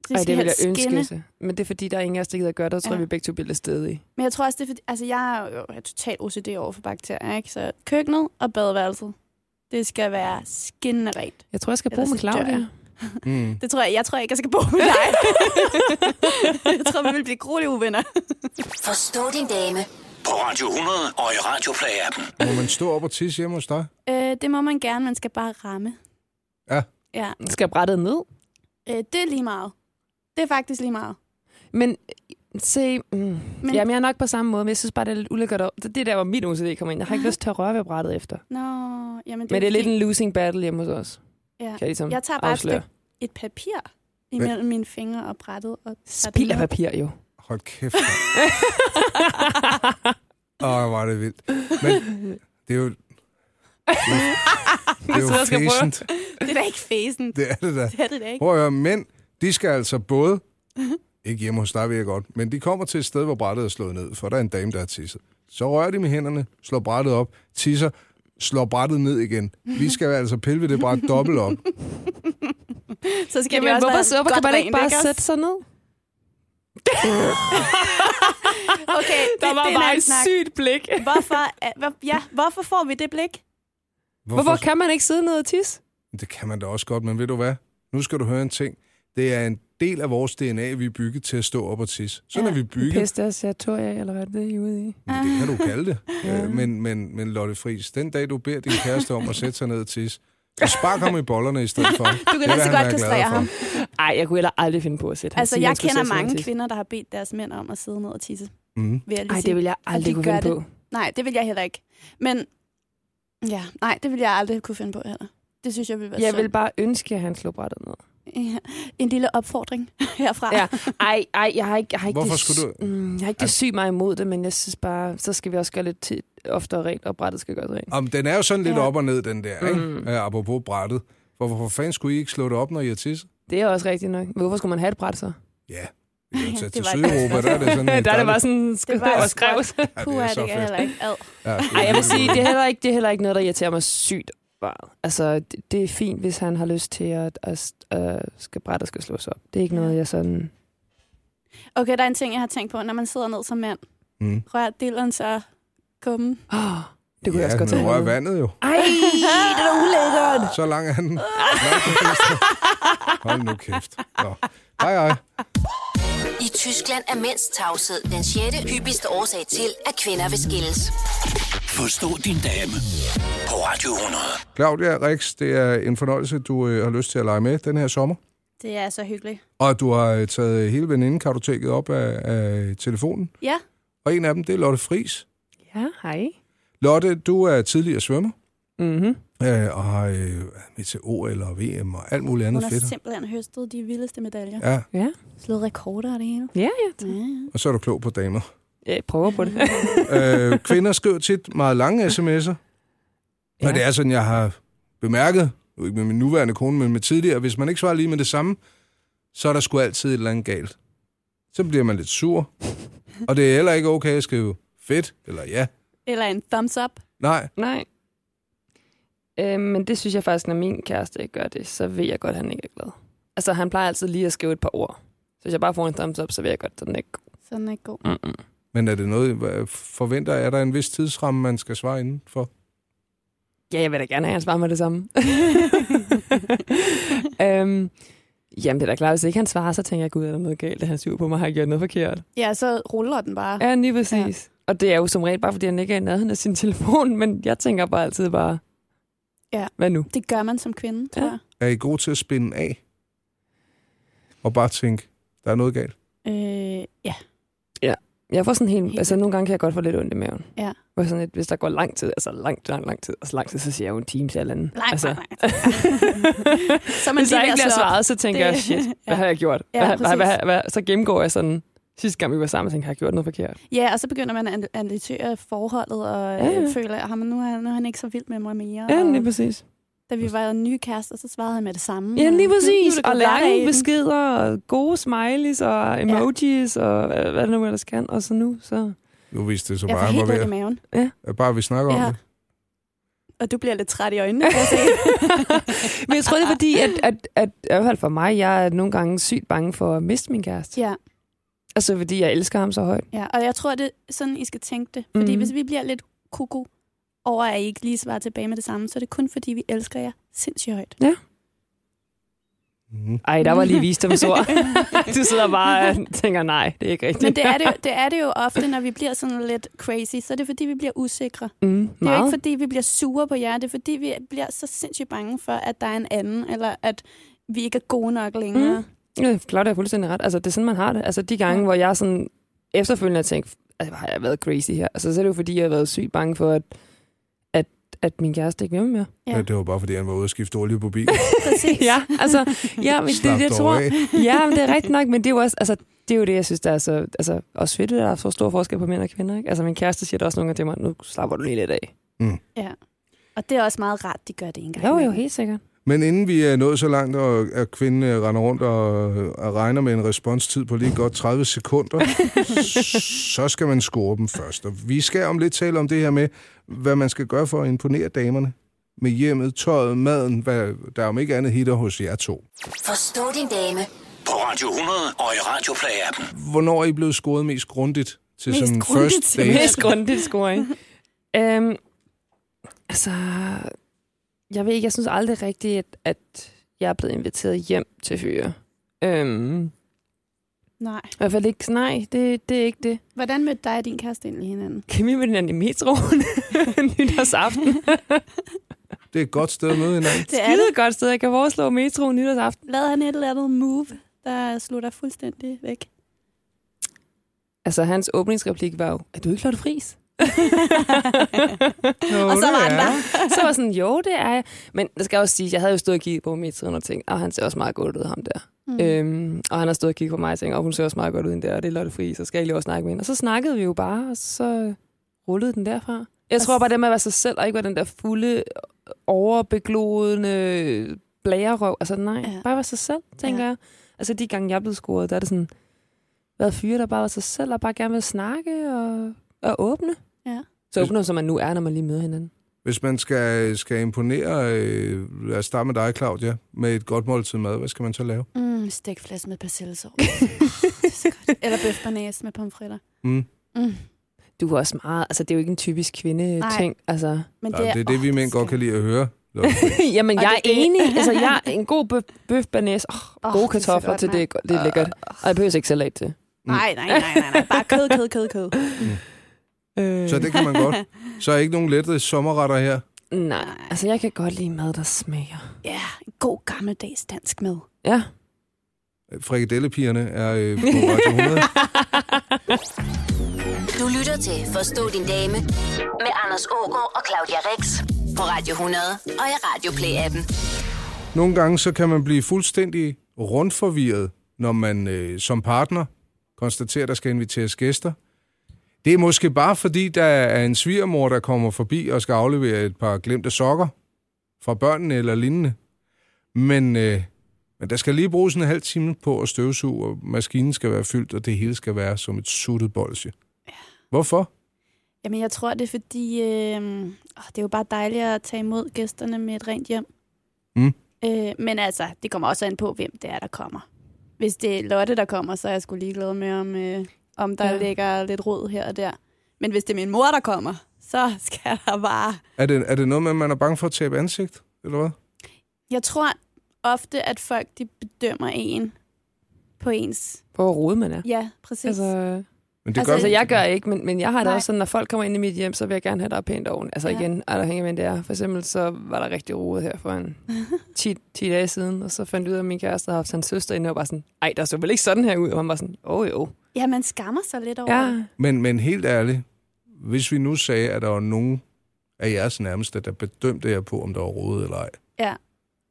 [SPEAKER 4] Det
[SPEAKER 5] Ej,
[SPEAKER 4] skal
[SPEAKER 5] det vil jeg
[SPEAKER 4] helst
[SPEAKER 5] ønske
[SPEAKER 4] skinne.
[SPEAKER 5] sig. Men det er fordi, der er ingen af os, der gider at gøre det, og tror, ja.
[SPEAKER 4] Ja.
[SPEAKER 5] vi begge to bliver lidt stedige.
[SPEAKER 4] Men jeg tror også, det er fordi, altså jeg er jo jeg er totalt OCD over for bakterier, ikke? Så køkkenet og badeværelset, det skal være skinnende rent.
[SPEAKER 5] Jeg tror, jeg skal bruge
[SPEAKER 4] Ellers
[SPEAKER 5] med
[SPEAKER 4] så dør
[SPEAKER 5] Claudia.
[SPEAKER 4] jeg.
[SPEAKER 3] Mm.
[SPEAKER 4] Det tror jeg, jeg tror ikke, jeg skal bo med dig. *laughs* jeg tror, vi vil blive gruelige uvenner.
[SPEAKER 1] Forstå din dame
[SPEAKER 2] På Radio 100 og i Radioplay-appen.
[SPEAKER 3] Må man stå op og tisse hjemme hos dig?
[SPEAKER 4] Øh, det må man gerne, man skal bare ramme.
[SPEAKER 3] Ja.
[SPEAKER 4] Ja,
[SPEAKER 5] Skal jeg brættet ned?
[SPEAKER 4] øh, det er lige meget. Det er faktisk lige meget.
[SPEAKER 5] Men Se, mm, men... jamen jeg er nok på samme måde, men jeg synes bare, det er lidt ulækkert. at- Det det er der, hvor mit OCD kommer ind. Jeg har ikke
[SPEAKER 4] Aha.
[SPEAKER 5] lyst til at røre ved brættet efter.
[SPEAKER 4] Nå, jamen det,
[SPEAKER 5] Men det er lidt
[SPEAKER 4] fordi-
[SPEAKER 5] en losing battle hjemme hos os.
[SPEAKER 4] Ja.
[SPEAKER 5] Kan jeg ligesom
[SPEAKER 4] Jeg tager bare et,
[SPEAKER 5] afsløre.
[SPEAKER 4] stykke, et papir imellem mine fingre og brættet. Og tager det
[SPEAKER 5] Spild af
[SPEAKER 4] med.
[SPEAKER 5] papir,
[SPEAKER 4] *laughs*
[SPEAKER 5] jo.
[SPEAKER 3] Hold kæft. mand. Åh, hvor er det vildt. Men det er jo... Det er
[SPEAKER 5] sidder
[SPEAKER 3] jo
[SPEAKER 5] og skal prøve.
[SPEAKER 3] fæsent.
[SPEAKER 4] Det er da ikke fæsen.
[SPEAKER 3] Det er det da.
[SPEAKER 4] Det er det da ikke.
[SPEAKER 3] Prøv at høre, mænd, de skal altså både... Ikke hjemme hos dig, ved jeg godt. Men de kommer til et sted, hvor brættet er slået ned, for der er en dame, der er tisset. Så rører de med hænderne, slår brættet op, tisser, slår brættet ned igen. Vi skal altså pille ved det bræt dobbelt op.
[SPEAKER 4] Så skal det
[SPEAKER 5] Jamen,
[SPEAKER 4] også
[SPEAKER 5] hvorfor,
[SPEAKER 4] være
[SPEAKER 5] så, hvorfor
[SPEAKER 4] godt
[SPEAKER 5] kan man ikke
[SPEAKER 4] rent,
[SPEAKER 5] bare
[SPEAKER 4] også?
[SPEAKER 5] sætte sig ned?
[SPEAKER 4] Okay, det,
[SPEAKER 5] *laughs* Der var
[SPEAKER 4] det er en
[SPEAKER 5] bare
[SPEAKER 4] anden
[SPEAKER 5] et
[SPEAKER 4] snak.
[SPEAKER 5] sygt blik.
[SPEAKER 4] Hvorfor, er- hvor- ja, hvorfor får vi det blik?
[SPEAKER 5] Hvorfor kan man ikke sidde ned og tisse?
[SPEAKER 3] Det kan man da også godt, men ved du hvad? Nu skal du høre en ting. Det er en del af vores DNA, vi er bygget til at stå op og tisse. Sådan
[SPEAKER 4] Ja,
[SPEAKER 3] er vi bygget.
[SPEAKER 5] Pisse deres territorie, eller hvad er det, I er ude i?
[SPEAKER 3] Men det kan du kalde det.
[SPEAKER 5] Ja.
[SPEAKER 3] Øh, men, men, men Lotte Friis, den dag du beder din kæreste om at sætte sig ned og tisse, så spark ham i bollerne i stedet for. Du
[SPEAKER 4] lige så godt kastrere ham.
[SPEAKER 5] Ej, jeg kunne heller aldrig finde på at sætte ham.
[SPEAKER 4] Altså,
[SPEAKER 5] Sige,
[SPEAKER 4] jeg
[SPEAKER 5] han skulle
[SPEAKER 4] kender
[SPEAKER 5] sætte sig ned og
[SPEAKER 4] mange
[SPEAKER 5] tisse.
[SPEAKER 4] kvinder, der har bedt deres mænd om at sidde ned og tisse.
[SPEAKER 3] Mm.
[SPEAKER 4] Vil jeg lige
[SPEAKER 5] Ej,
[SPEAKER 4] sige.
[SPEAKER 5] det vil jeg aldrig
[SPEAKER 4] de
[SPEAKER 5] kunne
[SPEAKER 4] gør
[SPEAKER 5] finde
[SPEAKER 4] det.
[SPEAKER 5] på.
[SPEAKER 4] Nej, det vil jeg heller ikke. Men ja, nej, det vil jeg aldrig kunne finde på heller. Det synes jeg ville være
[SPEAKER 5] Jeg
[SPEAKER 4] synd.
[SPEAKER 5] vil bare ønske, at han slog brættet ned.
[SPEAKER 4] Ja. En lille opfordring *laughs* herfra.
[SPEAKER 5] Ja. Ej, ej, jeg har ikke, jeg har ikke
[SPEAKER 3] Hvorfor
[SPEAKER 5] det,
[SPEAKER 3] skulle du-
[SPEAKER 5] Mm, jeg har ikke det syg mig imod det, men jeg synes bare, så skal vi også gøre lidt tid, oftere rent, og brættet skal gøres rent.
[SPEAKER 3] Om den er jo sådan lidt
[SPEAKER 4] Ja.
[SPEAKER 3] op og ned, den der, ikke?
[SPEAKER 5] Mm.
[SPEAKER 3] Øh, apropos brættet. For hvorfor fanden skulle I ikke slå det op, når I har
[SPEAKER 5] *laughs*
[SPEAKER 3] tisset?
[SPEAKER 5] Det er også rigtigt nok. Men hvorfor skulle man have et bræt så?
[SPEAKER 3] Ja, vi kan jo tage
[SPEAKER 4] Det
[SPEAKER 3] til
[SPEAKER 4] var et
[SPEAKER 3] Sydeuropa,
[SPEAKER 4] godt
[SPEAKER 3] der er
[SPEAKER 5] *laughs*
[SPEAKER 3] det sådan
[SPEAKER 5] der er
[SPEAKER 3] en
[SPEAKER 5] det bare
[SPEAKER 3] dejlig-
[SPEAKER 5] sådan,
[SPEAKER 4] Det
[SPEAKER 5] sk-
[SPEAKER 4] var
[SPEAKER 5] og skrev.
[SPEAKER 3] *laughs* Ja,
[SPEAKER 4] Puh,
[SPEAKER 3] det er så
[SPEAKER 4] det kan jeg
[SPEAKER 3] fedt.
[SPEAKER 4] heller ikke. Ad.
[SPEAKER 3] Ja, det er
[SPEAKER 5] Ej, jeg vil
[SPEAKER 3] virkelig
[SPEAKER 5] sige,
[SPEAKER 3] fedt.
[SPEAKER 5] det er heller ikke, det er heller ikke noget, der irriterer mig sygt meget. Altså, det, det er fint, hvis han har lyst til at, at, at skal brætte og skal slås op. Det er ikke
[SPEAKER 4] Ja.
[SPEAKER 5] noget, jeg sådan...
[SPEAKER 4] Okay, der er en ting, jeg har tænkt på. Når man sidder ned som mand,
[SPEAKER 3] Mm.
[SPEAKER 4] rør dilleren så kummen.
[SPEAKER 5] Oh, det kunne
[SPEAKER 3] ja,
[SPEAKER 5] jeg også godt
[SPEAKER 3] men
[SPEAKER 5] tænke
[SPEAKER 3] rør
[SPEAKER 5] mig.
[SPEAKER 3] vandet jo. *laughs*
[SPEAKER 5] Ej, det er da ulækkert!
[SPEAKER 3] Så lang er den. Lang er den. Hold nu kæft. Nå. Hej, hej.
[SPEAKER 1] I Tyskland er mænds tavshed den sjette hyppigste årsag til, at kvinder vil skilles.
[SPEAKER 2] Forstå din dame på Radio 100.
[SPEAKER 3] Claudia Rix, det er en fornøjelse, du øh, har lyst til at lege med den her sommer.
[SPEAKER 4] Det er så hyggeligt.
[SPEAKER 3] Og du har øh, taget hele venindekartoteket op af, af telefonen.
[SPEAKER 4] Ja.
[SPEAKER 3] Og en af dem, det er Lotte Fris.
[SPEAKER 5] Ja, hej.
[SPEAKER 3] Lotte, du er tidligere svømmer,
[SPEAKER 5] Mm-hmm.
[SPEAKER 3] øh, og har øh, været med til OL og VM og alt muligt andet
[SPEAKER 4] Hun har
[SPEAKER 3] fedt.
[SPEAKER 4] simpelthen høstet de vildeste medaljer.
[SPEAKER 3] Ja,
[SPEAKER 5] Ja.
[SPEAKER 4] Slået rekorder og det hele.
[SPEAKER 5] Ja, ja.
[SPEAKER 4] Ja, ja.
[SPEAKER 3] og så er du klog på damer.
[SPEAKER 5] Jeg prøver på det.
[SPEAKER 3] *laughs* øh, kvinder skriver tit meget lange sms'er, ja. og det er sådan, jeg har bemærket, jo ikke med min nuværende kone, men med tidligere, hvis man ikke svarer lige med det samme, så er der sgu altid et eller andet galt. Så bliver man lidt sur, og det er heller ikke okay at skrive fedt eller ja.
[SPEAKER 4] Eller en thumbs up.
[SPEAKER 3] Nej,
[SPEAKER 5] Nej. Øh, men det synes jeg faktisk, når min kæreste ikke gør det, så ved jeg godt, at han ikke er glad. Altså, han plejer altid lige at skrive et par ord. Så hvis jeg bare får en thumbs up, så ved jeg godt, at den er ikke
[SPEAKER 4] Sådan er god.
[SPEAKER 5] Mm-mm.
[SPEAKER 3] men er det noget, hvad- forventer, er der en vis tidsramme, man skal svare inden for?
[SPEAKER 5] Ja, jeg vil da gerne have, at han svarer mig det
[SPEAKER 4] *laughs*
[SPEAKER 5] samme. øhm, jamen, det er da klart, hvis ikke han svarer, så tænker jeg, gud, er der noget galt, at han er sur på mig, har jeg gjort noget forkert.
[SPEAKER 4] Ja, så ruller den bare.
[SPEAKER 5] Ja, lige præcis. Ja. Og det er jo som regel bare, fordi han ikke er i nærheden af sin telefon, men jeg tænker bare altid bare,
[SPEAKER 4] Ja.
[SPEAKER 5] hvad nu?
[SPEAKER 4] Det gør man som kvinde, tror
[SPEAKER 5] Ja.
[SPEAKER 4] jeg.
[SPEAKER 3] Er I gode til at spænde af? Og bare tænke, der er noget galt?
[SPEAKER 4] Øh, ja.
[SPEAKER 5] Jeg får sådan helt,
[SPEAKER 4] Helt
[SPEAKER 5] altså nogle gange kan jeg godt få lidt ondt i maven.
[SPEAKER 4] Ja.
[SPEAKER 5] Hvor sådan lidt, hvis der går lang tid, altså langt, langt, lang tid, altså lang tid, så siger jeg jo en time til eller andet.
[SPEAKER 4] Nej,
[SPEAKER 5] altså,
[SPEAKER 4] altså. nej, nej. Så er man
[SPEAKER 5] Hvis der
[SPEAKER 4] lige ved
[SPEAKER 5] ikke
[SPEAKER 4] at
[SPEAKER 5] bliver
[SPEAKER 4] slå op.
[SPEAKER 5] svaret, så tænker
[SPEAKER 4] Det-
[SPEAKER 5] det... jeg, shit,
[SPEAKER 4] *laughs* Ja.
[SPEAKER 5] hvad har jeg gjort?
[SPEAKER 4] Ja,
[SPEAKER 5] hvad, hvad,
[SPEAKER 4] præcis.
[SPEAKER 5] hvad, hvad, så gennemgår jeg sådan, sidste gang vi var sammen, og tænkte, har jeg gjort noget forkert?
[SPEAKER 4] Ja, og så begynder man at an- analysere forholdet og
[SPEAKER 5] Ja,
[SPEAKER 4] ja,
[SPEAKER 5] ja.
[SPEAKER 4] ja. føler, at nu er, nu er han ikke så vild med mig mere.
[SPEAKER 5] Ja,
[SPEAKER 4] og
[SPEAKER 5] lige præcis.
[SPEAKER 4] da vi var nye kærester, så svarede han med det samme.
[SPEAKER 5] Ja,
[SPEAKER 4] og
[SPEAKER 5] lige
[SPEAKER 4] Mm. nu- nu er
[SPEAKER 5] præcis.
[SPEAKER 4] det
[SPEAKER 5] Og
[SPEAKER 4] gået hverdag i
[SPEAKER 5] lange
[SPEAKER 4] den.
[SPEAKER 5] beskeder, og gode smileys, og emojis, ja. og hvad, hvad det nu ellers kan. Og så nu, så...
[SPEAKER 3] Nu viste det så
[SPEAKER 4] Jeg
[SPEAKER 3] bare, at
[SPEAKER 4] får
[SPEAKER 3] han
[SPEAKER 4] helt
[SPEAKER 3] var
[SPEAKER 4] ondt i
[SPEAKER 3] ved
[SPEAKER 4] maven.
[SPEAKER 3] at, bare vi snakker om
[SPEAKER 4] Ja.
[SPEAKER 3] det.
[SPEAKER 4] Og du bliver lidt træt i øjnene, kan jeg
[SPEAKER 5] *laughs*
[SPEAKER 4] se.
[SPEAKER 5] Men jeg tror, det er fordi, at, at, at i hvert fald for mig, jeg er nogle gange sygt bange for at miste min kæreste.
[SPEAKER 4] ja,
[SPEAKER 5] Altså, fordi jeg elsker ham så højt.
[SPEAKER 4] ja, og jeg tror, det er sådan, I skal tænke det. Fordi
[SPEAKER 5] Mhm.
[SPEAKER 4] mm. hvis vi bliver lidt koko over, at I ikke lige svarer tilbage med det samme, så er det kun fordi, vi elsker jer sindssygt højt.
[SPEAKER 3] Mm.
[SPEAKER 5] Ej, der var lige visdomsord. du sidder bare og tænker, nej, det er ikke rigtigt.
[SPEAKER 4] *laughs* Men det er det, jo, det er det jo ofte, når vi bliver sådan lidt crazy, så er det fordi, vi bliver usikre.
[SPEAKER 5] Mm,
[SPEAKER 4] Det er jo
[SPEAKER 5] meget.
[SPEAKER 4] ikke, fordi vi bliver sure på jer. Det er, fordi vi bliver så sindssygt bange for, at der er en anden, eller at vi ikke er gode nok længere.
[SPEAKER 5] Mm. Ja, Claudia har fuldstændig ret. Altså, det er sådan, man har det. Altså, de gange,
[SPEAKER 4] Ja.
[SPEAKER 5] hvor jeg sådan efterfølgende tænkte, altså, har jeg været crazy her? Altså, så er det jo fordi, jeg har været sygt bange for, at, at, at min kæreste ikke vil med mere.
[SPEAKER 4] Ja.
[SPEAKER 3] Ja. Det var bare, fordi han var ude og skifte olie på
[SPEAKER 5] *laughs*
[SPEAKER 3] bilen.
[SPEAKER 4] Præcis.
[SPEAKER 5] ja, altså, ja, men det,
[SPEAKER 3] Slap
[SPEAKER 5] det, jeg
[SPEAKER 3] dog
[SPEAKER 5] tror,
[SPEAKER 3] af.
[SPEAKER 5] *laughs* ja, men det er rigtigt nok, men det er jo også, altså, det er jo det, jeg synes, der er så, altså, også fedt, at der er så stor forskel på mænd og kvinder, ikke? Altså, min kæreste siger da også nogle gange til mig, nu slapper du lige lidt af.
[SPEAKER 4] Og det er også meget rart, de gør det en gang.
[SPEAKER 5] Jo, jo,
[SPEAKER 4] imellem.
[SPEAKER 5] helt sikkert.
[SPEAKER 3] Men inden vi er nået så langt, og at kvinden øh, render rundt og, og regner med en responstid på lige godt 30
[SPEAKER 5] *laughs*
[SPEAKER 3] sekunder, så skal man score dem først. Og vi skal om lidt tale om det her med, hvad man skal gøre for at imponere damerne med hjemmet, tøjet, maden, hvad der om ikke andet hitter hos jer to.
[SPEAKER 1] Forstå din dame
[SPEAKER 2] På Radio 100 og i Radio Play-appen.
[SPEAKER 3] Hvornår er I blevet scoret mest grundigt til
[SPEAKER 4] Mest
[SPEAKER 3] sådan
[SPEAKER 4] grundigt
[SPEAKER 3] first
[SPEAKER 4] til-
[SPEAKER 3] date?
[SPEAKER 5] Mest grundigt scoring. *laughs* øhm, altså, jeg ved ikke, jeg synes aldrig rigtigt, at, at jeg er blevet inviteret hjem til fyre. Øhm, I
[SPEAKER 4] Nej.
[SPEAKER 5] hvert fald ikke, nej, det, det er ikke det.
[SPEAKER 4] Hvordan mødte dig og din kæreste egentlig hinanden?
[SPEAKER 5] Kan vi med den anden i metroen *laughs* nytårsaften?
[SPEAKER 3] Det er et godt sted at møde hinanden.
[SPEAKER 4] Det er
[SPEAKER 5] Skide godt sted, jeg kan foreslå metroen nytårsaften.
[SPEAKER 4] Lavede han et eller andet move, der slog dig fuldstændig væk?
[SPEAKER 5] Altså, hans åbningsreplik var jo, er du ikke Lotte Friis? *laughs*
[SPEAKER 3] Nå,
[SPEAKER 4] *laughs* Og så
[SPEAKER 3] det
[SPEAKER 4] var han
[SPEAKER 3] er.
[SPEAKER 4] der.
[SPEAKER 5] så var jeg sådan, jo, det er jeg. Men det skal jeg også sige, jeg havde jo stået og kigget på metroen og tænkt, og han ser også meget godt ud, ham der. Mm. Øhm, og han har stået og kigget på mig og tænkt, og hun ser også meget godt ud, den der, og det er Lotte Friis, så skal jeg lige over og snakke med hende. Og så snakkede vi jo bare, og så rullede den derfra. Jeg tror bare, det med at være sig selv, og ikke være den der fulde, overbeglodende blærerøv. Altså nej,
[SPEAKER 4] Ja.
[SPEAKER 5] ja. bare være sig selv, tænker
[SPEAKER 4] Ja.
[SPEAKER 5] ja. jeg. Altså de gange, jeg er blevet scoret, der er det sådan, været fyre, der bare var sig selv, og bare gerne vil snakke og, og åbne.
[SPEAKER 4] Ja.
[SPEAKER 5] Så åbne, som man nu er, når man lige møder
[SPEAKER 4] *laughs*
[SPEAKER 5] hinanden.
[SPEAKER 3] Hvis man skal, skal imponere, øh, lad os starte med dig, Claudia, med et godt måltid mad, hvad skal man så lave?
[SPEAKER 4] Mm, stikflæs med persillesov. eller bøf bearnaise med pomfritter.
[SPEAKER 3] Mm.
[SPEAKER 4] Mm.
[SPEAKER 5] Du er også meget, altså det er jo ikke en typisk kvinde-ting. Altså.
[SPEAKER 4] Men
[SPEAKER 3] Det er, det, er det, vi
[SPEAKER 4] åh,
[SPEAKER 3] mænd godt
[SPEAKER 4] skal-
[SPEAKER 3] kan lide at høre. Så,
[SPEAKER 5] *laughs* Jamen,
[SPEAKER 4] Og
[SPEAKER 5] jeg er
[SPEAKER 4] det er det. *laughs*
[SPEAKER 5] enig. Altså, jeg er en god bøf, bøf banæs. Oh,
[SPEAKER 4] Åh,
[SPEAKER 5] oh, gode
[SPEAKER 4] det er så
[SPEAKER 5] kartofler
[SPEAKER 4] godt, Mm.
[SPEAKER 5] til det, er go- det er lækkert. Og jeg behøver ikke salat til.
[SPEAKER 4] Nej, nej, nej, nej, nej. Bare kød, kød, kød, kød.
[SPEAKER 5] Øh.
[SPEAKER 3] *laughs* så det kan man godt. Så er ikke nogen lette sommerretter her.
[SPEAKER 5] Nej, altså jeg kan godt lide mad, der smager.
[SPEAKER 4] *laughs* Ja, en god gammeldags dansk mad.
[SPEAKER 5] Ja.
[SPEAKER 3] Frikadellepigerne er øh, på Radio
[SPEAKER 5] *laughs*
[SPEAKER 3] 100.
[SPEAKER 1] Du lytter til Forstå din dame med Anders Ågaard og Claudia Rex på Radio 100 og i Radio Play-appen.
[SPEAKER 3] Nogle gange så kan man blive fuldstændig rundforvirret, når man øh, som partner konstaterer, at der skal inviteres gæster. Det er måske bare fordi, der er en svigermor, der kommer forbi og skal aflevere et par glemte sokker fra børnene eller lignende. Men, øh, men der skal lige bruges en halv time på at støvsuge, og maskinen skal være fyldt, og det hele skal være som et suttet bolsje. Hvorfor?
[SPEAKER 4] Jamen, jeg tror, det er fordi, øh, åh, det er jo bare dejligt at tage imod gæsterne med et rent hjem.
[SPEAKER 3] Mm.
[SPEAKER 4] Øh, men altså, det kommer også an på, hvem det er, der kommer. Hvis det er Lotte, der kommer, så er jeg sgu ligeglad med, om, øh, om der
[SPEAKER 5] Ja.
[SPEAKER 4] ja. ligger lidt rod her og der. Men hvis det er min mor, der kommer, så *laughs* skal der bare...
[SPEAKER 3] Er det, er det noget med, at man er bange for at tabe ansigt, eller hvad?
[SPEAKER 4] Jeg tror ofte, at folk de bedømmer en på ens...
[SPEAKER 5] På hvor rodet man er.
[SPEAKER 4] Ja, præcis.
[SPEAKER 5] Altså,
[SPEAKER 3] Men
[SPEAKER 4] Altså,
[SPEAKER 3] det
[SPEAKER 4] Altså,
[SPEAKER 5] altså,
[SPEAKER 3] vi-
[SPEAKER 5] jeg gør ikke, men, men jeg har det
[SPEAKER 4] Nej.
[SPEAKER 5] også sådan, når folk kommer ind i mit hjem, så vil jeg gerne have, der er pænt oven. Altså
[SPEAKER 4] Ja.
[SPEAKER 5] ja. igen, afhængig af, hvem det er. For eksempel så var der rigtig roet her for
[SPEAKER 4] *laughs*
[SPEAKER 5] en 10, 10 dage siden, og så fandt jeg ud af, at min kæreste havde haft hans søster inde, og var sådan, ej, der så vel ikke sådan her ud? Og han var sådan, åh oh, jo.
[SPEAKER 4] ja, man skammer sig lidt over det.
[SPEAKER 5] Ja,
[SPEAKER 3] Men, men helt ærligt, hvis vi nu sagde, at der var nogen af jeres nærmeste, der bedømte jer på, om der var råd eller ej,
[SPEAKER 4] Ja.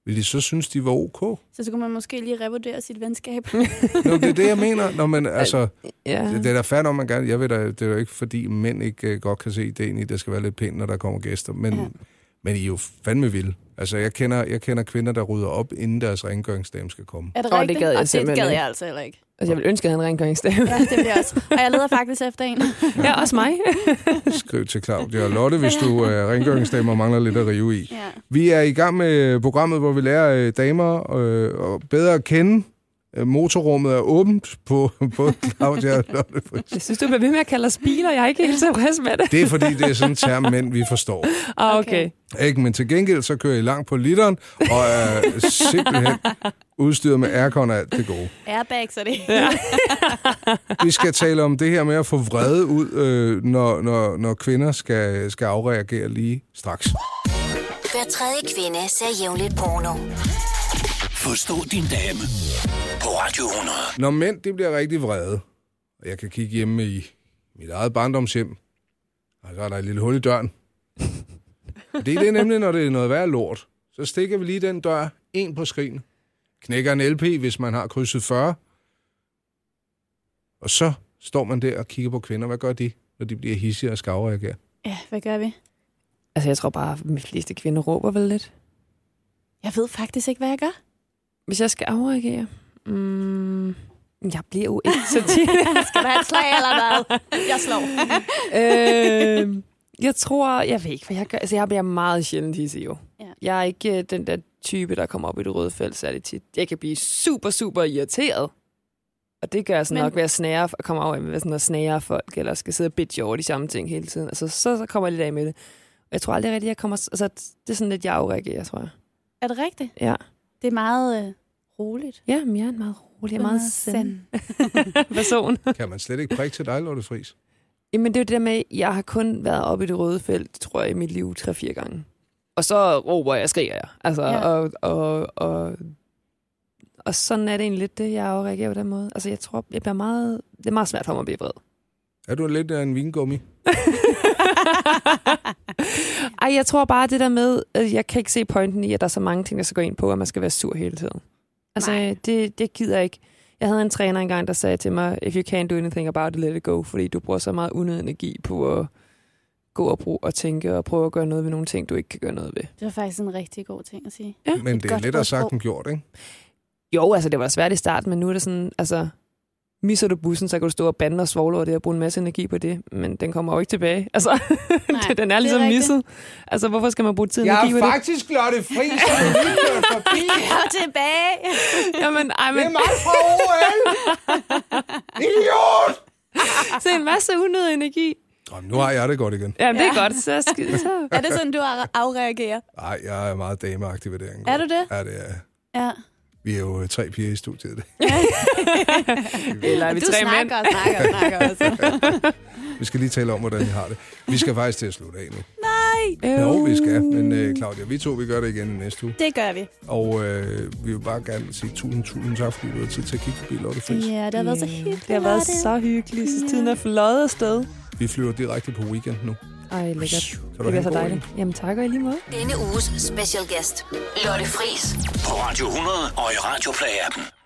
[SPEAKER 3] ville de så synes, de var ok?
[SPEAKER 4] Så skulle man måske lige revurdere sit
[SPEAKER 5] *laughs*
[SPEAKER 4] venskab.
[SPEAKER 3] Nå, det er det, jeg mener. Nå,
[SPEAKER 4] *laughs*
[SPEAKER 3] men altså,
[SPEAKER 5] ja.
[SPEAKER 3] det, det er da fair, når man gerne... Jeg ved da, det er jo ikke, fordi mænd ikke uh, godt kan se ideen i, at det skal være lidt pænt, når der kommer gæster, men,
[SPEAKER 4] Ja.
[SPEAKER 3] ja. men I er jo fandme vilde. Altså, jeg kender, jeg kender kvinder, der rydder op, inden deres rengøringsdame skal komme.
[SPEAKER 4] Er det
[SPEAKER 5] Åh, det
[SPEAKER 4] rigtigt?
[SPEAKER 5] gad jeg
[SPEAKER 4] Åh, det
[SPEAKER 5] simpelthen
[SPEAKER 4] gad
[SPEAKER 5] ikke.
[SPEAKER 4] jeg altså heller ikke.
[SPEAKER 5] Altså, jeg ville ønske, at han havde en rengøringsdame.
[SPEAKER 4] Ja, det bliver jeg også. Og jeg leder faktisk efter en.
[SPEAKER 5] Ja, også mig.
[SPEAKER 3] Skriv til Claudia og Lotte, hvis du er uh, rengøringsdame og mangler lidt at rive i.
[SPEAKER 4] Ja.
[SPEAKER 3] Vi er i gang med programmet, hvor vi lærer øh, damer øh, og bedre at kende. Øh, Motorrummet er åbent på *laughs* både Claudia og Lotte Friis.
[SPEAKER 5] Jeg synes, du bliver ved med at kalde os biler. Jeg er ikke helt tilfreds med det.
[SPEAKER 3] Det er fordi, det er sådan en term, mænd vi forstår.
[SPEAKER 5] Ah, okay.
[SPEAKER 4] Okay.
[SPEAKER 5] okay.
[SPEAKER 3] Ikke, men til gengæld, så kører I langt på literen, og er simpelthen udstyret med aircon og alt det gode.
[SPEAKER 4] Airbags er det.
[SPEAKER 3] Vi skal tale om det her med at få vrede ud, øh, når, når, når kvinder skal, skal afreagere lige straks.
[SPEAKER 1] Hver tredje kvinde ser jævnligt porno.
[SPEAKER 2] Forstå din dame. På Radio 100.
[SPEAKER 3] Når mænd de bliver rigtig vrede, Og jeg kan kigge hjemme i mit eget barndomshjem, og så er der et lille hul i døren. Fordi det er nemlig, når det er noget værd lort, så stikker vi lige den dør en på skrigen, knækker en LP, hvis man har krydset 40, og så står man der og kigger på kvinder. Hvad gør de, når de bliver hissige og skavreagerer?
[SPEAKER 4] Ja, hvad gør vi?
[SPEAKER 5] Altså, jeg tror bare, at de fleste kvinder råber vel lidt.
[SPEAKER 4] Jeg ved faktisk ikke, hvad jeg gør.
[SPEAKER 5] Hvis jeg skal afreagere... Mm, jeg bliver jo ikke så tit.
[SPEAKER 4] Skal du have et slag eller hvad? Jeg slår.
[SPEAKER 5] øh, jeg tror... Jeg ved ikke, hvad jeg gør. Altså, jeg bliver meget sjældent hisse, jo.
[SPEAKER 4] Ja.
[SPEAKER 5] Jeg er ikke øh, den der type, der kommer op i det røde felt særlig tit. Jeg kan blive super, super irriteret. Og det gør jeg sådan
[SPEAKER 4] Men-
[SPEAKER 5] Men... nok ved at snære, og komme over med sådan at snære folk, eller skal sidde og bitche over de samme ting hele tiden. Altså, så, så kommer jeg lidt af med det. Og jeg tror aldrig rigtigt, jeg kommer... Altså, det er sådan lidt, jeg afreagerer, tror jeg.
[SPEAKER 4] Er det rigtigt?
[SPEAKER 5] Ja.
[SPEAKER 4] Det er meget øh, roligt.
[SPEAKER 5] Ja, men jeg er en meget rolig, jeg er meget sand *laughs* person.
[SPEAKER 3] Kan man slet ikke prikke til dig, Lotte Friis?
[SPEAKER 5] Jamen, det er jo det der med, jeg har kun været oppe i det røde felt, tror jeg, i mit liv 3-4 gange. Og så råber jeg, skriger jeg. Altså,
[SPEAKER 4] Ja.
[SPEAKER 5] ja. og, og, og, og sådan er det egentlig lidt det, jeg afreagerer på den måde. Altså, jeg tror, jeg bliver meget, det er meget svært for mig at blive vred.
[SPEAKER 3] Er du lidt af en vingummi?
[SPEAKER 5] *laughs* Ej, jeg tror bare det der med, at jeg kan ikke se pointen i, at der er så mange ting, der skal gå ind på, at man skal være sur hele tiden. Altså,
[SPEAKER 4] Nej.
[SPEAKER 5] det, det gider jeg ikke. Jeg havde en træner engang, der sagde til mig, if you can't do anything about it, let it go, fordi du bruger så meget unødig energi på at gå og bruge og tænke og prøve at gøre noget ved nogle ting, du ikke kan gøre noget ved.
[SPEAKER 4] Det var faktisk en rigtig god ting at *laughs* sige.
[SPEAKER 5] Ja,
[SPEAKER 3] Men det er
[SPEAKER 4] godt
[SPEAKER 3] lettere sagt
[SPEAKER 4] rådsprog.
[SPEAKER 3] end gjort, ikke?
[SPEAKER 5] Jo, altså det var svært i starten, men nu er det sådan, altså, misser du bussen, så kan du stå og bande og svogle over det og bruge en masse energi på det, men den kommer jo ikke tilbage. *laughs* Altså,
[SPEAKER 4] Nej,
[SPEAKER 5] Nej, den er ligesom
[SPEAKER 4] det er rigtigt.
[SPEAKER 5] misset. Altså, hvorfor skal man bruge tid og energi på det?
[SPEAKER 3] faktisk Lotte Friis, og du er forbi.
[SPEAKER 4] Og tilbage!
[SPEAKER 5] Jamen, ej, men...
[SPEAKER 3] mig fra
[SPEAKER 4] *laughs*
[SPEAKER 3] OL! Idiot!
[SPEAKER 5] Så en masse unødig energi.
[SPEAKER 3] Jamen, nu har jeg det godt igen.
[SPEAKER 5] Jamen, det er godt. Så skide så.
[SPEAKER 4] Er det sådan, du ar- afreagerer?
[SPEAKER 3] Nej, jeg er meget dameagtig ved det. angår.
[SPEAKER 4] Er du det?
[SPEAKER 3] Ja, det er jeg.
[SPEAKER 4] Ja.
[SPEAKER 3] Vi er jo øh, tre piger i studiet. *laughs* i dag.
[SPEAKER 5] Eller er vi
[SPEAKER 4] du
[SPEAKER 5] tre
[SPEAKER 4] snakker
[SPEAKER 5] mænd?
[SPEAKER 4] og snakker og snakker *laughs* også.
[SPEAKER 3] Vi skal lige tale om, hvordan I har det. Vi skal faktisk til at slutte af nu.
[SPEAKER 5] Øh,
[SPEAKER 3] Jo, vi skal.
[SPEAKER 4] mm.
[SPEAKER 3] Men øh, Claudia, vi to, vi gør det igen næste uge.
[SPEAKER 4] Det gør vi.
[SPEAKER 3] Og øh, vi vil bare gerne sige tusind, tusind tak, fordi du har tid til at kigge forbi Lotte Friis.
[SPEAKER 4] Ja, det har været så hyggeligt.
[SPEAKER 5] Det har været
[SPEAKER 4] Lotte.
[SPEAKER 5] så hyggeligt, så tiden er fløjet afsted.
[SPEAKER 3] Vi flyver direkte på weekend nu.
[SPEAKER 5] Ej, lækkert.
[SPEAKER 3] Så
[SPEAKER 5] Det
[SPEAKER 3] du
[SPEAKER 5] bliver
[SPEAKER 3] have
[SPEAKER 5] så
[SPEAKER 3] en god
[SPEAKER 5] dejligt. Jamen, tak og i lige måde.
[SPEAKER 1] Denne uges special guest, Lotte Friis.
[SPEAKER 2] På Radio 100 og i Radioplay-appen.